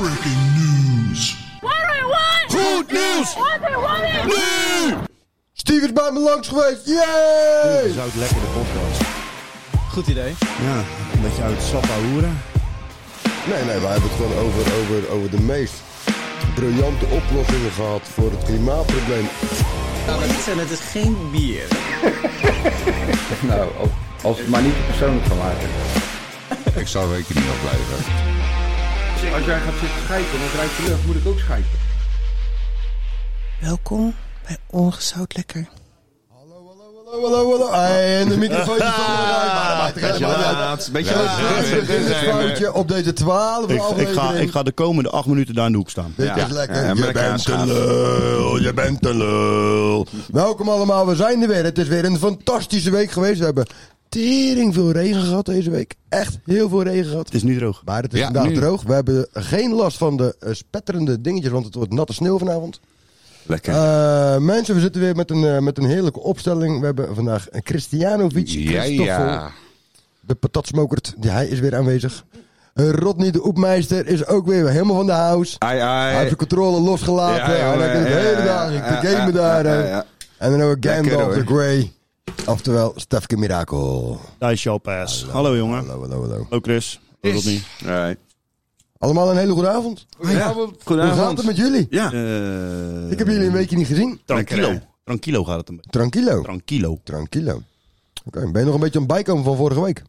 Breaking news. Goed nieuws! Nu! Steve is bij me langs geweest. Yay! Zou het lekker de podcast? Goed idee. Ja, een beetje uit Sappahoera. Nee, nee, wij hebben het gewoon over, over, over de meest briljante oplossingen gehad voor het klimaatprobleem. En Nou, het is geen bier. Nou, als, als het maar niet te persoonlijk van maken. Ik zou weken niet afblijven. Als jij gaat zitten schijpen en het ruikt de lucht, moet ik ook schijpen. Welkom bij Ongezout Lekker. Hallo, hallo, hallo. Hey, En de microfoon is van de Beetje laat, beetje laat. foutje op deze 12 Ik, ik, ga, aflevering. ik ga de komende acht minuten daar in de hoek staan. Dit is lekker. je bent een lul, je bent een lul. Welkom allemaal, we zijn er weer. Het is weer een fantastische week geweest. We hebben tering veel regen gehad deze week. Echt heel veel regen gehad. Het is nu droog. Maar het is vandaag droog. We hebben geen last van de eh, spetterende dingetjes, want het wordt natte sneeuw vanavond. Lekker. Eh, mensen, we zitten weer met een, eh, met een heerlijke opstelling. We hebben vandaag een Christianovic, ja, Christoffel, ja. de patatsmokert, die, hij is weer aanwezig. Eh, Rodney de Oepmeister is ook weer helemaal van de house. Ai, Hij heeft ai. de controle losgelaten. Ja, en hij jongen, kan de ja, hele ja, dag ja, de gamen ja, daar. ja, hè. ja. En dan hebben we Lekker, Gandalf the hoor. Grey. Oftewel, Stefke Mirakel. Daar is jouw pass. Hallo jongen. Hallo, hallo, hallo. Hallo Chris. Hallo Rodney. Alright. Allemaal een hele goede avond. Goedenavond. Hoe gaat het met jullie? Ja. Ik heb jullie een weekje niet gezien. Eh, Tranquilo. Lekker, hè? Tranquilo gaat het een beetje. Tranquilo. Tranquilo. Ik Tranquilo. Oké, ben je nog een beetje aan het bijkomen van vorige week?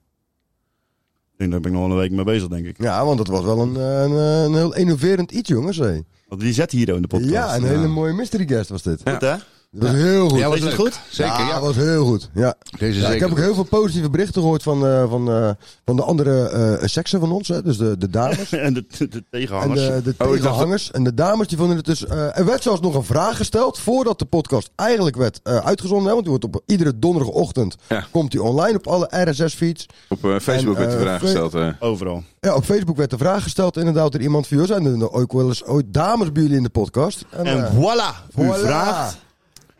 denk, daar ben ik nog wel een week mee bezig, denk ik. Ja, want dat was wel een, eh, een, eh, een heel innoverend iets, jongens. hé. Want die zet hier in de podcast. Ja, een hele mooie mystery guest was dit. Goed, hè? Dat was heel goed. Ja, was Is het leuk. goed? Zeker, ja. dat was heel goed. Ja. Deze Ja, zeker. ik heb ook heel veel positieve berichten gehoord van, eh, van, eh, van de andere eh, seksen van ons. Hè? Dus de, de dames En de, de- de en tegenhangers. de, de Oh, dacht dat- tegenhangers. En de dames die vonden het dus... eh, er werd zelfs nog een vraag gesteld voordat de podcast eigenlijk werd eh, uitgezonden. Hè? Want die wordt op iedere donderdagochtend Ja. komt die online op alle RSS-feeds. Op eh, Facebook En, werd de eh, vraag Fre- gesteld. eh. Overal. Ja, op Facebook werd de vraag gesteld inderdaad door iemand van... "Joh, Zijn er nou ook wel eens ooit dames bij jullie in de podcast? En, En eh, voilà. U voilà. vraagt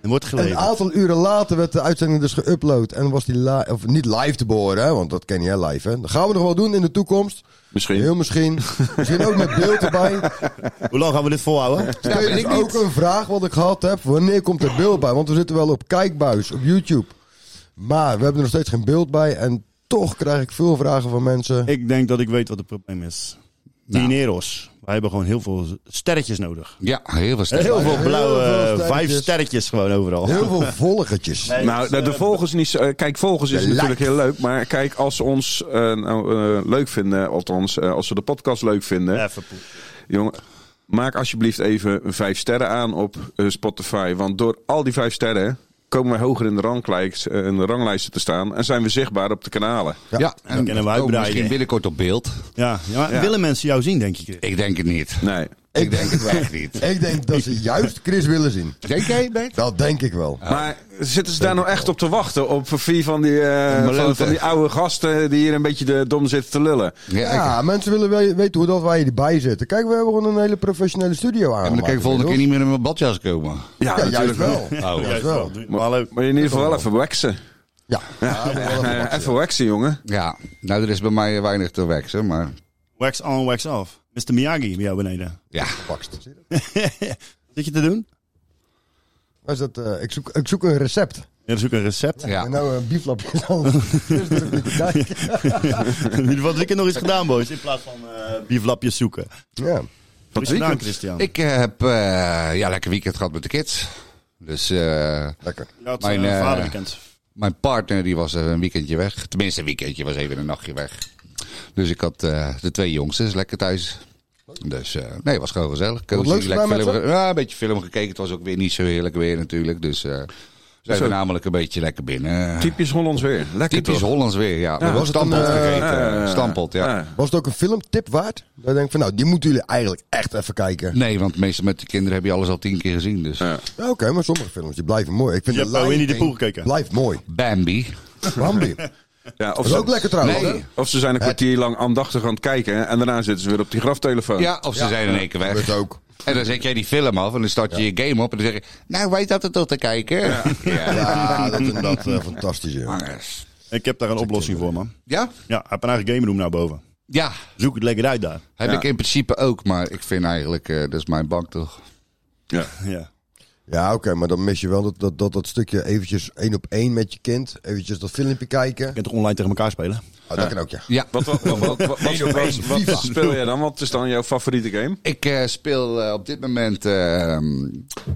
en wordt Een geleverd. aantal uren later werd de uitzending dus geüpload. En was die li- of niet live te behoren, hè? want dat ken je hè, live. Hè? Dat gaan we nog wel doen in de toekomst. Misschien. Heel misschien. misschien ook met beeld erbij. Hoe lang gaan we dit volhouden? Dat is dus ook een vraag wat ik gehad heb. Wanneer komt er beeld bij? Want we zitten wel op kijkbuis, op YouTube. Maar we hebben er nog steeds geen beeld bij. En toch krijg ik veel vragen van mensen. Ik denk dat ik weet wat het probleem is. Dineros. Wij hebben gewoon heel veel sterretjes nodig. Nou. Ja, heel veel Heel veel Heel blauwe veel eh, sterretjes. vijf sterretjes gewoon overal. Heel veel volgertjes. Nou, de, de volgers niet. zo- eh, Kijk, volgers is De natuurlijk likes. heel leuk. Maar kijk, als ze ons eh, nou, eh, leuk vinden, althans, eh, als ze de podcast leuk vinden, Even poep. jongen, maak alsjeblieft even een vijf sterren aan op eh, Spotify. Want door al die vijf sterren komen wij hoger in de, ranglijst, eh, in de ranglijsten te staan en zijn we zichtbaar op de kanalen. Ja. Dan en kunnen we komen uitbreiden. Oh, misschien binnenkort op beeld. Ja, ja, maar Ja. willen mensen jou zien, denk ik. Ik denk het niet. Nee. Ik denk het echt niet. Ik denk dat ze juist Chris willen zien. Denk jij, Bert? Dat denk ik wel. Maar zitten ze daar nou echt op te wachten? Op vier van die, eh, Meloten. van, van die oude gasten die hier een beetje de dom zitten te lullen? Ja, ik- Ja, eh, mensen willen we- weten hoe dat wij erbij zitten. Kijk, we hebben gewoon een hele professionele studio aan. En dan kan ik volgende keer niet meer in mijn badjas komen. Ja, Ja, juist natuurlijk wel. wel. Oh. juist wel. Maar, maar in ieder geval wel even waxen. Ja, ja, we hebben wel Eh, even wat, even waxen, jongen. Ja, nou, er is bij mij weinig te waxen, maar Wax on, wax off. Mr. Miyagi bij jou beneden. ja. ja, pakst. Zie je dat? Wat zit je te doen? Wat is dat, eh, ik, zoek, ik zoek een recept. Ja, dat is ook een recept. En ja. nou een bieflapje dan. Dus durf ik niet te kijken. Wat ik er nog eens gedaan, boys. In plaats van eh bieflapjes zoeken. Ja. Wat het is gedaan, weekend? Christian? Ik eh, heb eh ja, lekker weekend gehad met de kids. Dus eh, Lekker. Je had mijn, eh, eh, vaderweekend. mijn partner die was eh, een weekendje weg. Tenminste, een weekendje was even een nachtje weg. Dus ik had eh, de twee jongsters lekker thuis. Dus eh, nee, was gewoon gezellig. Cozy, leuks lekker gedaan met film, ge- ja, een beetje film gekeken. Het was ook weer niet zo heerlijk weer natuurlijk. Dus eh zijn we Zo. namelijk een beetje lekker binnen. Typisch Hollands weer. Lekker Typisch toch? Hollands weer, ja. We hebben was het een, stampot eh, gegeten. eh, stampot, ja. Ja. Was het ook een filmtip waard? Dan denk ik van, nou, die moeten jullie eigenlijk echt even kijken. Nee, want meestal met de kinderen heb je alles al tien keer gezien. Dus. Ja. Ja, Oké, maar sommige films die blijven mooi. Ik vind Je de hebt nou Lion Winnie de King Pooh gekeken. Blijft mooi. Bambi. Bambi. Ja, of, Dat is ook lekker trouwens. Nee. hè? of ze zijn een kwartier lang aandachtig aan het kijken en daarna zitten ze weer op die graftelefoon. Ja, of ze zijn in één keer Dat weg. ook. En dan zet jij die film af en dan start je je game op en dan zeg je... Nou, wij zaten tot te kijken. Ja? Ja, dat is inderdaad eh, fantastisch. joh. Jongens. Ik heb daar een oplossing voor, man. ja? Ja, ik heb een eigen game room naar boven. Ja, Zoek het lekker uit daar. heb Ja. ik in principe ook. Maar ik vind eigenlijk, eh, dat is mijn bank toch. Ja. Ja. Ja, oké, maar dan mis je wel dat, dat, dat, dat stukje eventjes één op één met je kind. Eventjes dat filmpje kijken. Je kunt toch online tegen elkaar spelen? Oh, dat kan ook, ja. Ja, Wat, wat, wat, wat, wat, wat, wat- wat speel jij dan? Wat is dan jouw favoriete game? ik eh, speel eh, op dit moment eh,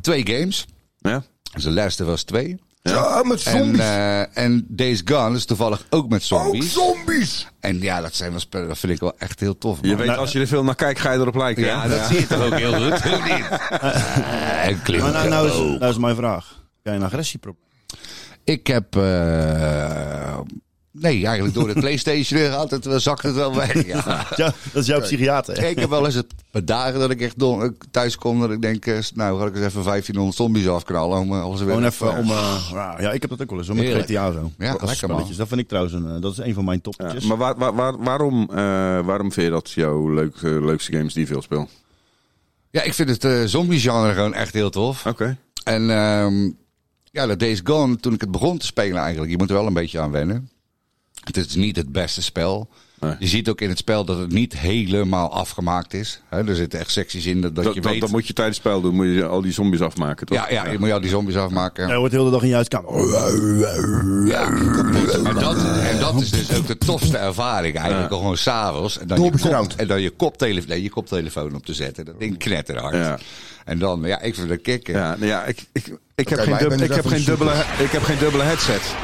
twee games. Ja? Dus de laatste was twee. Ja, met En, zombies. eh, en Days Gone is toevallig ook met ook zombies. zombies! en ja, dat, zijn wel spellen, dat vind ik wel echt heel tof. Je man. weet, als je er veel naar kijkt, ga je erop lijken. hè? Nou, ja, dat zie je toch ook heel goed. Hoe niet? Eh, en Maar klinkt nou, nou, ook. is, nou is mijn vraag. Heb jij een agressieprobleem? Ik heb. eh, nee, eigenlijk door de PlayStation gaat het, wel- zakt het wel weg. Ja. Ja, dat is jouw psychiater. hè? Ik heb wel eens het paar dagen dat ik echt don- thuis kom. Dat ik denk, eh, nou ga ik eens even 1500 zombies afknallen. Om eh, alles weer Gewoon even om... eh, ja, ik heb dat ook wel eens, hoor, met Heerlijk. GTA zo. Ja, Dat lekker, spelletjes. man. Dat vind ik trouwens een, eh, dat is een van mijn Ja, toppetjes. maar waar, waar, waar- waarom, eh, waarom vind je dat jouw leuk, eh, leukste games die je veel speelt? Ja, ik vind het eh, zombie-genre gewoon echt heel tof. Oké. En ehm, ja, dat Days Gone, toen ik het begon te spelen eigenlijk, je moet er wel een beetje aan wennen. Het is niet het beste spel. Nee. Je ziet ook in het spel dat het niet helemaal afgemaakt is. Hè, er zitten echt secties in dat, dat, Dat, je dat, weet... dat moet je tijdens het spel doen. Moet je al die zombies afmaken, toch? ja, ja, je moet jou die zombies afmaken. Hij hoort heel de dag in je huiskamer. Oh, Ja. En, dat, en dat is dus ook de tofste ervaring eigenlijk. Gewoon s'avonds. En, dan je Dorpsround. kop- en dan je koptelefoon, nee, je koptelefoon op te zetten. Dat ding knetterhard. Ja. En dan, ja, ik vind dat kicken. Ja, nou ja, ik, ik, ik, heb, wij geen dub- kunnen ik, heb, even geen dubbele, ik heb geen dubbele headset.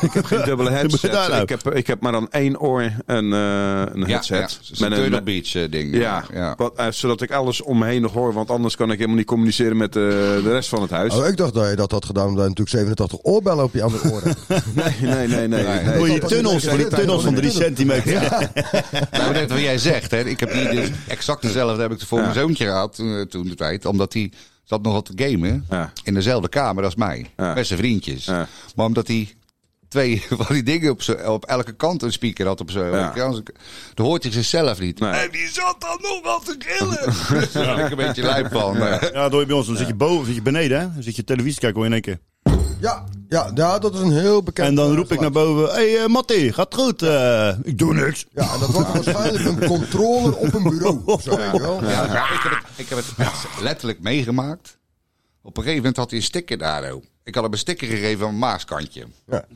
ik heb geen dubbele moet je headset. daar nou? Ik heb, ik heb maar dan één oor en eh, een Ja, headset. ja. Zo'n Met een- Turtle Beach eh, ding. ja, Wat, eh, zodat ik alles om me heen nog hoor. Want anders kan ik helemaal niet communiceren met eh, de rest van het huis. Oh, ik dacht dat je dat had gedaan omdat je natuurlijk 87 oorbellen op je andere oren hebt. Nee, nee, nee. nee, Nee. nee. Hoor je dat- tunnels, dat- van die dat- tunnels van dat- drie dat- centimeter. Nou, net wat jij zegt, hè. Ik heb die dus exact dezelfde heb ik voor mijn zoontje gehad toen, eh, toen de tijd. Omdat hij zat nog wat te gamen Ja. in dezelfde kamer als mij. Ja. Met zijn vriendjes. Ja. Maar omdat hij twee van die dingen op, z'n- op elke kant een speaker had op zijn... Ja. dus Dan hoort hij zichzelf niet. Nee. En die zat dan nog wat te gillen. dus daar ben ik een beetje lijp van. eh. Ja, dat hoor je bij ons. Dan zit je boven, zit je beneden, hè? Dan zit je televisie te kijken hoor je in één keer. Ja, ja, ja, dat is een heel bekend En dan roep ik naar boven, hé hey, eh, Matty, gaat goed? Eh, ik doe niks. Ja, en dat was waarschijnlijk een controller op een bureau. of Zo, weet je wel. Ja, Ik, heb het, ik heb het echt letterlijk meegemaakt. Op een gegeven moment had hij een sticker daar. ook. Ik had hem een sticker gegeven aan mijn maaskantje.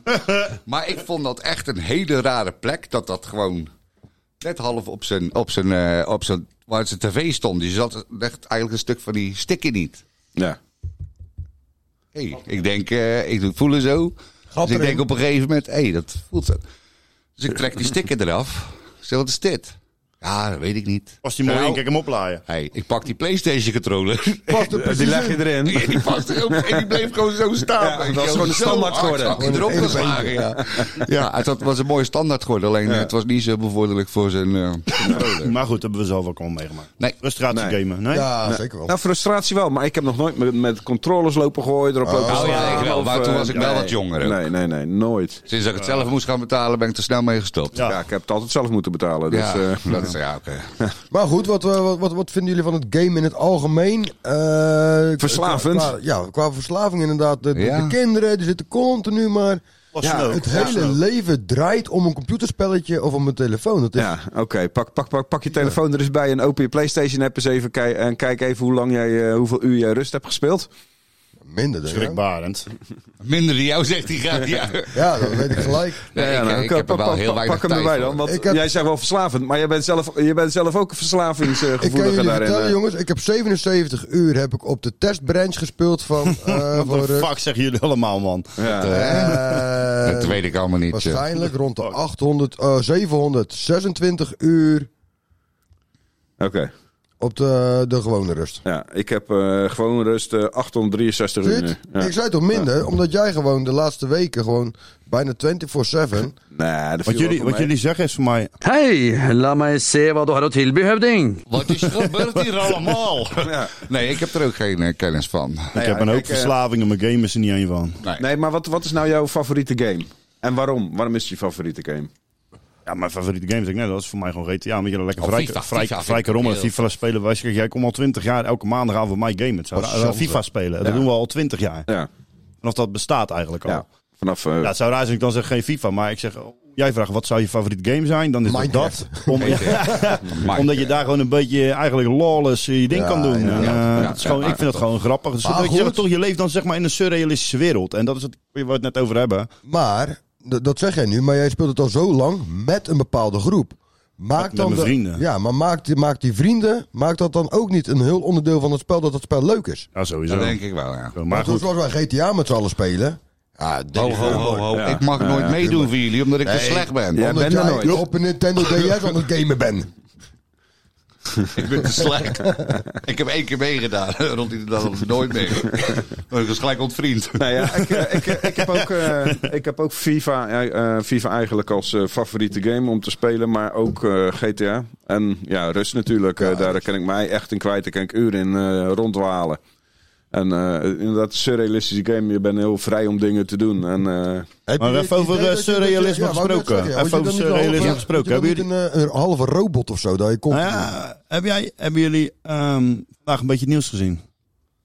maar ik vond dat echt een hele rare plek. Dat dat gewoon net half op zijn, op zijn, eh, op zijn waar zijn tv stond. Die zat echt eigenlijk een stuk van die sticker niet. Ja. Hey, ik denk, eh, ik doe het voelen zo. dus ik erin. denk op een gegeven moment, hé, hey, dat voelt zo. Dus ik trek die sticker eraf. Ik zeg, wat is dit? Ja, dat weet ik niet. Als die mooi Nou. in, kijk hem oplaaien. Hey, ik pak die PlayStation controller. Past er Eh, Die precies leg in. je erin. Die, die past erop en die bleef gewoon zo staan. Ja, Weet je dat is wel. gewoon een Zo standaard hard geworden. zag hij erop Gewoon een geslagen, ja. ja, het had- was een mooie standaard geworden. Alleen eh, het was niet zo bevorderlijk voor zijn... eh, Maar goed, hebben we zelf ook al meegemaakt. Nee. Frustratie Nee. gamen, nee? Ja, zeker wel. Nou, frustratie wel, maar ik heb nog nooit met, met controllers lopen gooien, erop lopen Oh, ja, slaan ik wel, of, maar eh, toen was ik wel nee. wat jonger ook. Nee, nee, nee, nooit. Sinds dat ik het zelf moest gaan betalen, ben ik er snel mee gestopt. Ja. Ja. ik heb het altijd zelf moeten betalen. Dus, Ja, eh, dat is ja, oké. Maar goed, wat, eh, wat, wat, wat vinden jullie van het game in het algemeen? Eh, Verslavend. qua- ja, qua verslaving inderdaad. De, de- Ja. de kinderen die zitten continu maar... Pas nou. Ja, ook. Het hele leven draait om een computerspelletje of om een telefoon. Dat is, ja, oké. Pak, pak, pak, pak je telefoon er eens bij en open je PlayStation app eens even kei- en kijk even hoe lang jij, eh, hoeveel uur jij rust hebt gespeeld. Minder, denk ik. Schrikbarend. Minder dan jou, zegt hij graag. Ja. Ja, dat weet ik gelijk. Nee, ik, nou, ik heb er wel heel weinig Pak hem tijd erbij voor. dan, want Ik heb- jij zegt wel verslavend, maar jij bent zelf, je bent zelf ook een Ik kan verslavingsgevoelige jullie daarin. vertellen, eh. jongens. Ik heb 77 uur heb ik op de testbranch gespeeld van... eh, Wat voor, de eh, fuck zeggen jullie allemaal, man? Ja. eh, Dat weet ik allemaal niet. eh. Waarschijnlijk rond de 800, eh, 726 uur eh, Oké, op de, de gewone rust. ja, ik heb eh, gewoon rust eh, 863 uur. Dit? nu. Ja. Ik zei toch minder, omdat jij gewoon de laatste weken gewoon bijna 24-7... Nee, dat Wat viel jullie, wel wat mee. jullie zeggen is voor mij... Hei, la meg se hva du har å tilby, høvding. Wat is er gebeurd hier allemaal? Ja. Nee, ik heb er ook geen eh, kennis van. Ik heb ja, een hoop kijk, eh, verslavingen, mijn game is er niet één van. Nee, maar wat, wat is nou jouw favoriete game? En waarom? Waarom is het je favoriete game? Ja, mijn favoriete game, zeg ik net, dat is voor mij gewoon GTA. Omdat je er lekker Oh, vrij, FIFA, vrij, FIFA vind vrij ik kan rommelen. heel- FIFA spelen, wij zeggen, jij komt al 20 jaar elke maandagavond mij gamen. Het zou Wat raar- zonde. FIFA spelen, dat Ja. doen we al 20 jaar. Ja, Vanaf dat bestaat eigenlijk al. ja. vanaf... eh, Ja, het zou raar zijn als ik dan zeg geen FIFA, maar ik zeg, Jij vraagt wat zou je favoriet game zijn? Dan is het dat. Minecraft. Om- omdat je daar gewoon een beetje eigenlijk lawless eh, je ding Ja, kan doen. inderdaad. En, eh, Ja, het is gewoon, ja, ik vind dat gewoon grappig. Dus dat je, goed. zegt, toch, je leeft dan zeg maar in een surrealistische wereld. En dat is het, waar we het net over hebben. Maar, d- dat zeg jij nu, maar jij speelt het al zo lang met een bepaalde groep. Maak Met dan mijn de- vrienden. Ja, maar maak die, maak die vrienden, maak dat dan ook niet een heel onderdeel van het spel dat het spel leuk is. Ja, sowieso. Dat denk ik wel, ja. Maar Maar goed, zoals wij GTA met z'n allen spelen. Ja, dit Ho, is ho, heel ho, mooi. ho. Ja. Ik mag Ja, nooit ja, meedoen voor jullie, omdat ik te Nee. slecht ben. Ja. Omdat bent er jij nooit. op een Nintendo DS aan het gamen bent. Ik ben te slecht. ik heb één keer meegedaan. Rond die dag nooit meer. Maar ik was gelijk ontvriend. Nou ja, ik, eh, ik, eh, ik heb ook, eh, ik heb ook FIFA, eh, eh, FIFA eigenlijk als eh, favoriete game om te spelen, maar ook eh, GTA. En ja, Rust natuurlijk, eh, daar kan ik mij echt in kwijt. Daar kan ik uren in eh, rondwalen. En eh, inderdaad, een surrealistische game. Je bent heel vrij om dingen te doen. En, eh, Heb Maar je even het over, idee eh, dat je- dat je- surrealisme ja, wou ik net gesproken. zeggen, Even word je over dan niet surrealisme halve- gesproken. word je dan Hebben niet een, eh, een halve robot of zo, dat je komt. nou ja, heb jij, hebben jullie ehm, vandaag een beetje het nieuws gezien?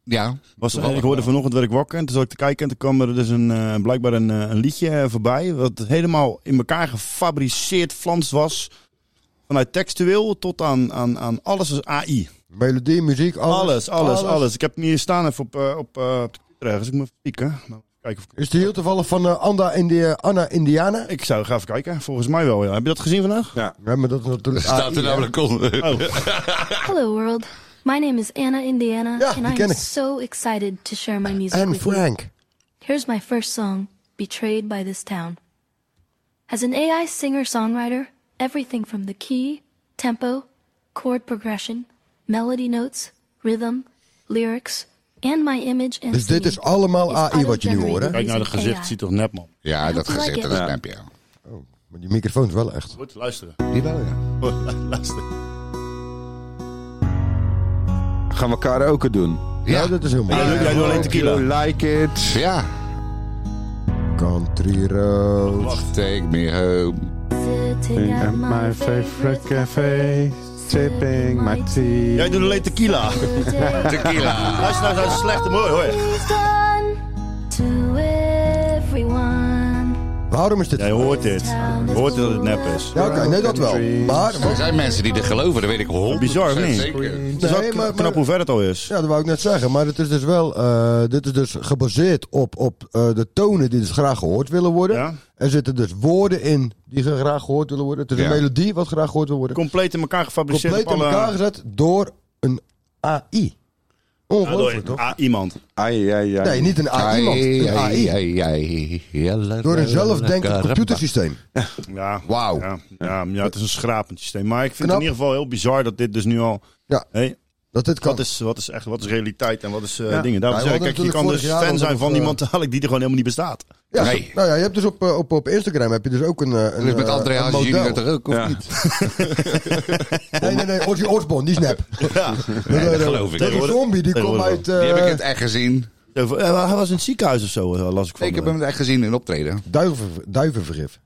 Ja. Was, ik hoorde vanochtend werd ik wakker en toen zat ik te kijken en toen kwam er dus een, eh, blijkbaar een, eh, een liedje eh, voorbij. Wat helemaal in elkaar gefabriceerd flans was. Vanuit textueel tot aan, aan, aan alles is AI. Melodie, muziek, alles. Alles, alles, alles. Ik heb het niet hier staan even op, eh, op, eh, op de computer ergens. Ik moet even kijken. Nou, kijken of ik... Is die heel toevallig van eh, Anda India, Anna Indiana? ik zou gaan even kijken. Volgens mij wel, ja. Heb je dat gezien vandaag? Ah, Ja, maar dat is natuurlijk Staat er AI, hè? namelijk onder. Hello, world. My name is Anna Indiana, Yeah, and you I can- am so excited to share my music En with you. Frank. Here's my first song, Betrayed by This Town. As an AI singer songwriter, everything from the key, tempo, chord progression, melody notes, rhythm, lyrics, and my image and Dus dit is singing allemaal AI wat je nu auto-generated hoort, hè? Kijk naar het using gezicht, AI. ziet toch nep, man. Ja, dat Like gezicht en it. dat snap je. ja. Oh, Maar die microfoon is wel echt. Goed, luisteren. Die wel, ja. luisteren. gaan we karaoke doen. Ja, Ja. dat is heel mooi. Jij doet- jij doet alleen tequila. You like it. Ja. Country road. Take me home. Sitting at my favorite cafe, sipping my tea. Jij doet alleen tequila. Tequila. Luister nou zo'n slechte mooi, hoor. It's done to everyone. Waarom is dit? Jij hoort dit. Je hoort dat het nep is. Ja, oké, nee, dat wel. Maar, Er zijn mensen die dit geloven, dat weet ik 100%. Bizar, of niet? Zeker. Het Nee, is ook maar- knap maar- hoe ver het al is. ja, dat wou ik net zeggen. Maar het is dus wel, eh, dit is dus gebaseerd op, op eh, de tonen die dus graag gehoord willen worden. Ja. Er zitten dus woorden in die ge- graag gehoord willen worden. Het is Ja. een melodie wat graag gehoord wil worden. Compleet in elkaar gefabriceerd. Compleet in op alle- Ah, elkaar gezet door een AI. Ongelooflijk, door toch? ah, iemand. Ai, ai, ai. Nee, niet een AI, Ah, iemand. Een AI. AI. Door een zelfdenkend computersysteem. Ja. Wauw. Ja, ja, ja, het is een schrapend systeem. Maar ik vind Knap. het in ieder geval heel bizar dat dit dus nu al... Ja. Hé, Dat dit kan. wat, is, wat is echt, wat is realiteit en wat is eh, dingen? Daarom Ja, we zeg hadden ik, kijk, je natuurlijk kan vorig dus jaar fan hadden zijn we van nog, eh, iemand eigenlijk die er gewoon helemaal niet bestaat. Ja, Nee. zo- nou ja, je hebt dus op, eh, op, op Instagram heb je dus ook een, eh, een Dus met eh, André een Hazes model. Junior er ook, of Ja. niet? Nee, nee, nee, Ozzy Osbourne, die snap. Ja. Nee, dat geloof ik. Dat is een zombie, die komt Tegenwoordig. uit eh, Die heb ik in het echt gezien. Eh, Hij was in het ziekenhuis of zo, eh, las ik van. Ik heb hem in het echt gezien in optreden. duiven, duivenvergif.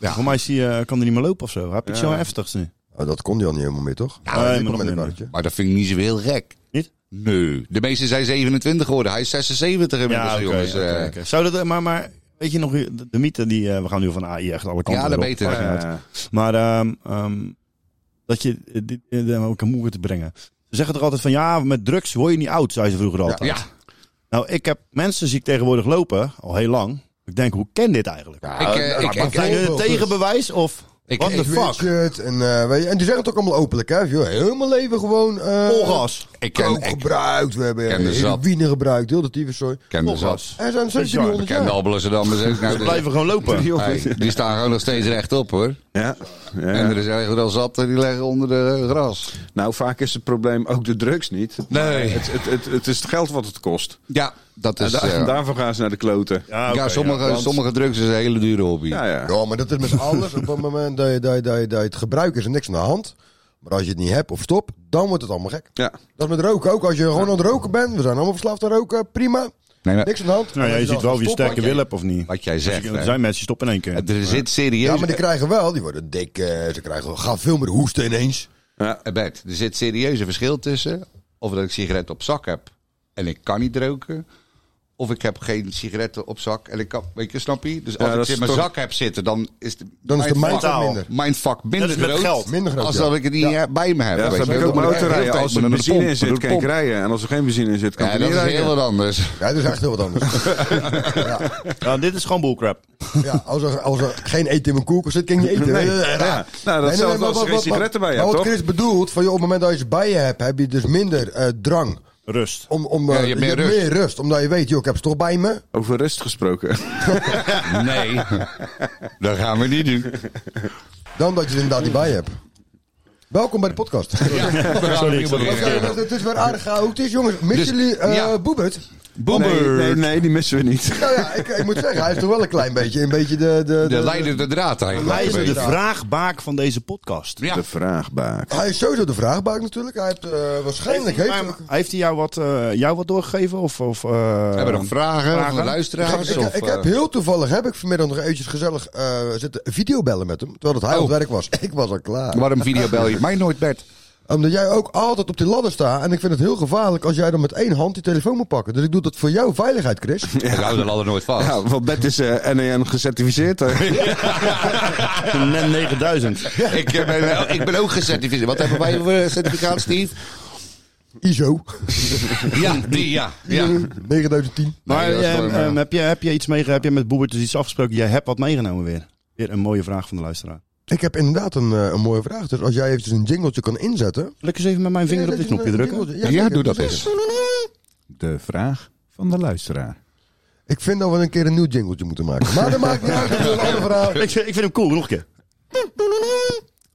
Ja. Voor mij is hij, eh, kan hij niet meer lopen of zo. Hij heeft iets zo heftigs nu. Oh, dat kon die al niet helemaal meer, toch? nee, die maar komt nog met een minder. karretje. Maar dat vind ik niet zo heel gek. Niet? Nee. De meeste zijn 27 geworden. Hij is 76 inmiddels, Ja, oké. jongens. oké, eh. oké. Zou dat, maar, maar weet je nog, de, de mythe die, eh, we gaan nu van AI echt alle kanten Ja, weer dat op. beter. Maakt niet uit. Eh, Maar ehm, ehm, dat je eh, dit eh, om elkaar moe te brengen. Ze zeggen toch altijd van ja, met drugs word je niet oud, zei ze vroeger altijd. Ja, Nou, ik heb mensen zie ik tegenwoordig lopen, al heel lang. Ik denk, hoe ken dit eigenlijk? ik, eh, ik, ik, Zijn ik, er een tegenbewijs of Ik- what the ik fuck? Richard, en, eh, weet je, en die zeggen het ook allemaal openlijk, hè? Joh, helemaal leven gewoon... eh Volgas. ik ken, coke ik gebruikt, we hebben ken de zat. heroïne gebruikt, heel de tyfuszooi. ken de Volgas. zat. Er zijn Bizar, 1700 Ken de jaar. Amsterdammers ook. Nou, Ze dus- blijven gewoon lopen. Hey, die staan gewoon nog steeds rechtop hoor. ja. Ja. En er is eigenlijk wel zat en die leggen onder de eh, gras. Nou, vaak is het probleem ook de drugs niet. Nee. Het, het, het, het is het geld wat het kost. Ja, dat En is. da- eh, daarvoor gaan ze naar de kloten. Ja, oké, ja, sommige, want- sommige drugs is een hele dure hobby. Ja, ja. Ja, maar dat is met alles. Op het moment dat je, dat, je, dat, je, dat je het gebruikt is er niks aan de hand. Maar als je het niet hebt of stop, dan wordt het allemaal gek. ja. Dat is met roken ook. Als je gewoon aan het roken bent, we zijn allemaal verslaafd aan roken, prima. Nee, maar Niks aan de hand. Nou ja, je Dan ziet wel of je stoppen. sterke wil hebt of niet. wat jij Er zegt. hè. zijn mensen die stoppen in één keer. er zit Ja, serieus. maar die krijgen wel, die worden dik, eh, ze krijgen, gaan veel meer hoesten ineens. Eh, Bert, er zit serieus een verschil tussen of dat ik sigaret op zak heb en ik kan niet roken. Of ik heb geen sigaretten op zak. En ik kan, weet je, snap je? Dus als Ja, ik dat ze in is mijn toch- zak heb zitten, dan is de, Dan is de mindfuck- mindfuck minder. mindfuck minder Dat is met groot. geld. Minder groot, Als ja. dat ik het niet eh, bij me heb. Ja, weet dat je. heb ik Dan ook moet met echt de hele autorijden. tijd Als er naar de benzine pomp, in naar zit, de kan ik pomp. rijden. En als er geen benzine in zit, kan Ja, ik dat niet is rijden. heel wat anders. Ja, dat is echt heel wat anders. Ja, Nou, dit is gewoon bullcrap. Ja, als, er, als er geen eten in mijn koelkast zit, kan ik niet eten. Nee. Eh, Ja. raar. Nou, dat is zelfs als er geen sigaretten bij je maar hebt, wat toch? Chris bedoelt, van, joh, op het moment dat je ze bij je hebt, heb je dus minder eh, drang. Rust. Om, om, eh, Ja, je hebt meer hebt rust. Omdat je weet, joh, ik heb ze toch bij me. Over rust gesproken. Nee, dat gaan we niet doen. Dan dat je ze inderdaad niet bij je hebt. Welkom bij de podcast. Sorry, ik Oké, dat- Het is weer aardig chaotisch, jongens. Missen Dus, jullie eh, ja. Boebert? Nee, nee, nee, die missen we niet. Nou ja, ik, ik moet zeggen, hij is toch wel een klein beetje, een beetje de... de, de- De leidende draad eigenlijk. Hij is Leidende de draad. vraagbaak van deze podcast. Ja. De vraagbaak. Hij is sowieso de vraagbaak natuurlijk. Hij heeft eh, waarschijnlijk... Heeft, Heeft, hij- heeft hij jou wat, eh, jou wat doorgegeven? Of, of, eh, Hebben we nog vragen, Vragen? van de luisteraars? ik, of, ik, ik eh, heb heel toevallig, heb ik vanmiddag nog eventjes gezellig eh zitten videobellen met hem. Terwijl het hij Oh. aan het werk was. Ik was al klaar. Waarom videobel je mij nooit, Bert? Omdat jij ook altijd op die ladder staat. En ik vind het heel gevaarlijk als jij dan met één hand die telefoon moet pakken. Dus ik doe dat voor jouw veiligheid, Chris. Ik hou de ladder nooit vast. Ja, want Bert is eh NEN gecertificeerd. hè? een NEN 9000. Ik, eh, ben, ik ben ook gecertificeerd. Wat hebben wij voor eh, certificaat, Steve? ISO. Ja, die, ja. ja. 9010. Maar dat is eh, wel een, eh, heb, je, heb je iets mee, heb je met Boebert dus iets afgesproken? Jij hebt wat meegenomen weer. Weer een mooie vraag van de luisteraar. Ik heb inderdaad een, eh, een mooie vraag. Dus als jij eventjes een jingletje kan inzetten. Zal ik eens even met mijn vinger op dit knopje drukken? Ja, Ja, zeker. doe dat eens. De vraag van de luisteraar. Ik vind dat we een keer een nieuw jingletje moeten maken. Maar dat maakt niet uit. Dat is een andere verhaal. Ik, vind- ik vind hem cool, nog een keer.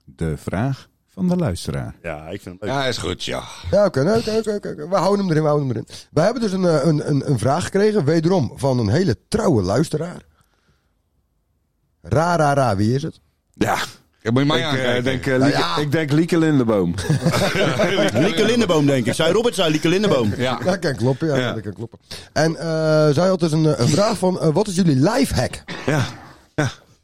De vraag van de luisteraar. Ja, ik vind hem leuk. Ja, is goed, ja. Ja, oké, nou, oké, oké, oké, oké. We houden hem erin, we houden hem erin. We hebben dus een, eh, een, een, een vraag gekregen, wederom, van een hele trouwe luisteraar. Ra, ra, ra, wie is het? Ja, Ja, moet je mij ik, eh, aankijken. denk, eh, Lieke, ja. ik denk Lieke Lindeboom. Lieke Lindeboom, denk ik. Zij Robert, zei Lieke Lindeboom. Ja. Dat kan kloppen, ja, Ja. dat kan kloppen. En eh, zij had dus een, eh, een vraag van, eh, wat is jullie lifehack? ja.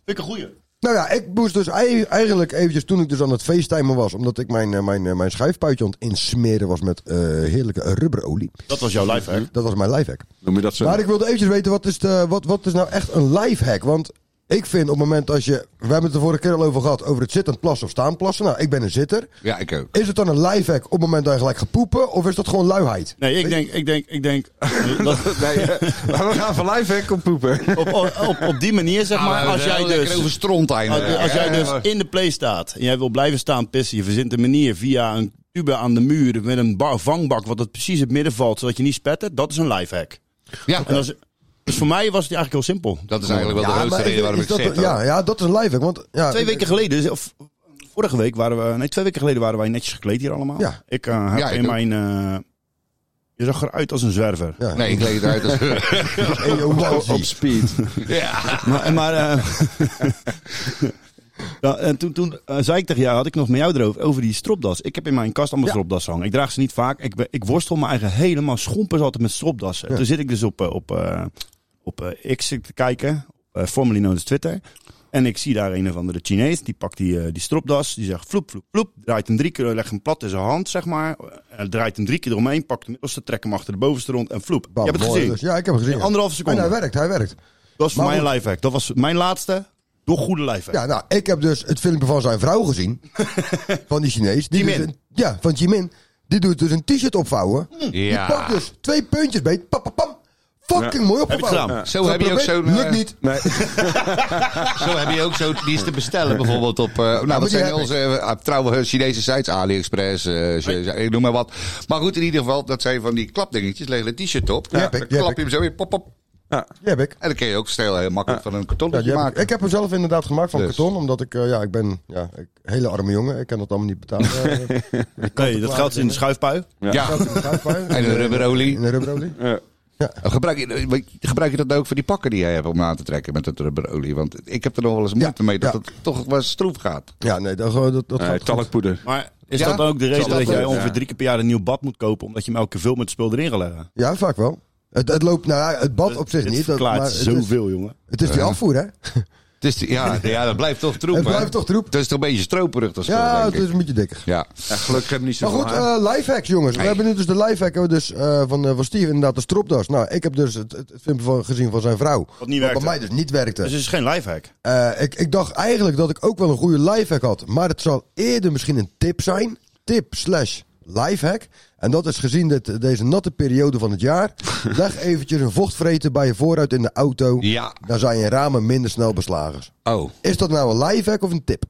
Vind ik een goeie. Nou ja, ik moest dus ei- eigenlijk eventjes, toen ik dus aan het facetimen was, omdat ik mijn, eh, mijn, eh, mijn schuifpuitje aan het insmeren was met eh, heerlijke rubberolie. Dat was jouw live, hè? Dat was mijn lifehack. Noem je dat zo? Maar ik wilde eventjes weten, wat is, de, wat, wat is nou echt een lifehack? Want ik vind op het moment als je... We hebben het de vorige keer al over gehad, over het zittend plassen of staan plassen. Nou, ik ben een zitter. ja, ik ook. Is het dan een lifehack op het moment dat je gelijk gaat poepen? Of is dat gewoon luiheid? Nee, ik denk, ik denk, ik denk. dat- Nee, eh, maar we gaan van lijfhek op poepen. op, op, op die manier, zeg Nou, maar. Als jij dus. over stront Als, eindigen. als jij Ja, dus maar- in de play staat en jij wil blijven staan pissen, je verzint een manier via een tube aan de muur met een bar, vangbak, wat het precies in het midden valt, zodat je niet spettert, dat is een lifehack. Ja, En als, dus voor mij was het eigenlijk heel simpel. dat is eigenlijk wel de grootste maar is- reden waarom is ik dat- zit. ja, hoor. ja, dat is een lifehack. Want, ja, Twee weken geleden, dus- of vorige week waren we, nee, twee weken geleden waren wij netjes gekleed hier allemaal. Ja. Ik eh, heb Ja, ik in ook. mijn, eh, je zag eruit als een zwerver. Ja, Nee, ik leed uit als... en je omaatje. Op speed. Ja. Maar, maar eh, ja, en toen, toen eh, zei ik tegen jou, had ik nog met jou erover, over die stropdas. Ik heb in mijn kast allemaal Ja. stropdas hangen. Ik draag ze niet vaak. Ik, ben- ik worstel me eigen helemaal schompers altijd met stropdassen. Toen zit ik dus op, eh, op, eh, op eh, X te kijken, eh, formerly known as Twitter. En ik zie daar een of andere Chinees, die pakt die, eh, die stropdas, die zegt vloep, vloep, vloep. Draait hem drie keer, legt hem plat in zijn hand, zeg maar. Eh, draait hem drie keer eromheen, pakt hem middelste, trekt hem achter de bovenste rond en vloep. Bam, je hebt het mooi, gezien. dus. ja, ik heb het gezien. ja. Anderhalve En seconde. hij werkt, hij werkt. Dat was voor Maar mij een goed. lifehack. Dat was mijn laatste, door goede lifehack. Ja, nou, ik heb dus het filmpje van zijn vrouw gezien. van die Chinees. Die Jimin. dus een- ja, van Jimin. Die doet dus een t-shirt opvouwen. Ja. Die pakt dus twee puntjes beet. Pam, pam, pam. Fucking mooi Heb ik opgevouwen. gedaan. Zo heb je ook Geprobeerd, zo'n... eh, Lukt niet. Nee. Zo heb je ook zo, die is te bestellen bijvoorbeeld op, eh, nou dat die zijn heb onze eh, trouwe Chinese sites, AliExpress, eh, Ch- ik noem maar wat. Maar goed, in ieder geval, dat zijn van die klapdingetjes, leg je een t-shirt heb op, dan ik, die heb klap je hem zo in, pop, pop. Die heb ik. En dan kun je ook snel heel makkelijk van een Ja, kartonnetje die heb ik. maken. Ik heb hem zelf inderdaad gemaakt van Dus. karton. Omdat ik, eh, ja, ik ben ja, ik, hele arme jongen. Ik kan dat allemaal niet betalen. Eh, Nee, dat geld is in de schuifpui. Ja, en een rubberolie. In een rubberolie. Gebruik je, gebruik je dat nou ook voor die pakken die jij hebt om aan te trekken met het rubberolie? Want ik heb er nog wel eens moeite mee dat ja. het toch wel stroef gaat. Ja, nee, dat, eh, dat, dat Nee, gaat goed. talkpoeder. Maar is Ja? dat dan ook de reden dat dat jij ook? ongeveer Ja. drie keer per jaar een nieuw bad moet kopen? Omdat je hem elke keer veel met het spul erin gaat leggen. Ja, vaak wel. Het, het loopt, nou ja, het bad op zich Dit niet. dat- verklaart maar het is- zoveel, jongen. Het is die afvoer, hè? Dus die- ja, ja, dat blijft toch troep. Het hè? blijft toch troep. Het is toch een beetje stroperig, dat spul, Ja, denk het ik. is een beetje dikker. Ja. Ja, gelukkig hebben we niet Maar zoveel goed, haar. eh lifehacks jongens. We Nee. hebben nu dus de lifehack hebben we dus, eh, van, eh, van Steve, inderdaad de stropdas. Nou, ik heb dus het, het, het filmpje van, gezien van zijn vrouw. Wat niet Wat werkte. bij mij dus niet werkte. Dus het is geen lifehack. Eh, ik, ik dacht eigenlijk dat ik ook wel een goede lifehack had. Maar het zal eerder misschien een tip zijn. Tip slash lifehack. En dat is gezien dit, deze natte periode van het jaar. Leg eventjes een vochtvreten bij je vooruit in de auto. Ja. Dan zijn je ramen minder snel beslagen. Oh. Is dat nou een lifehack of een tip?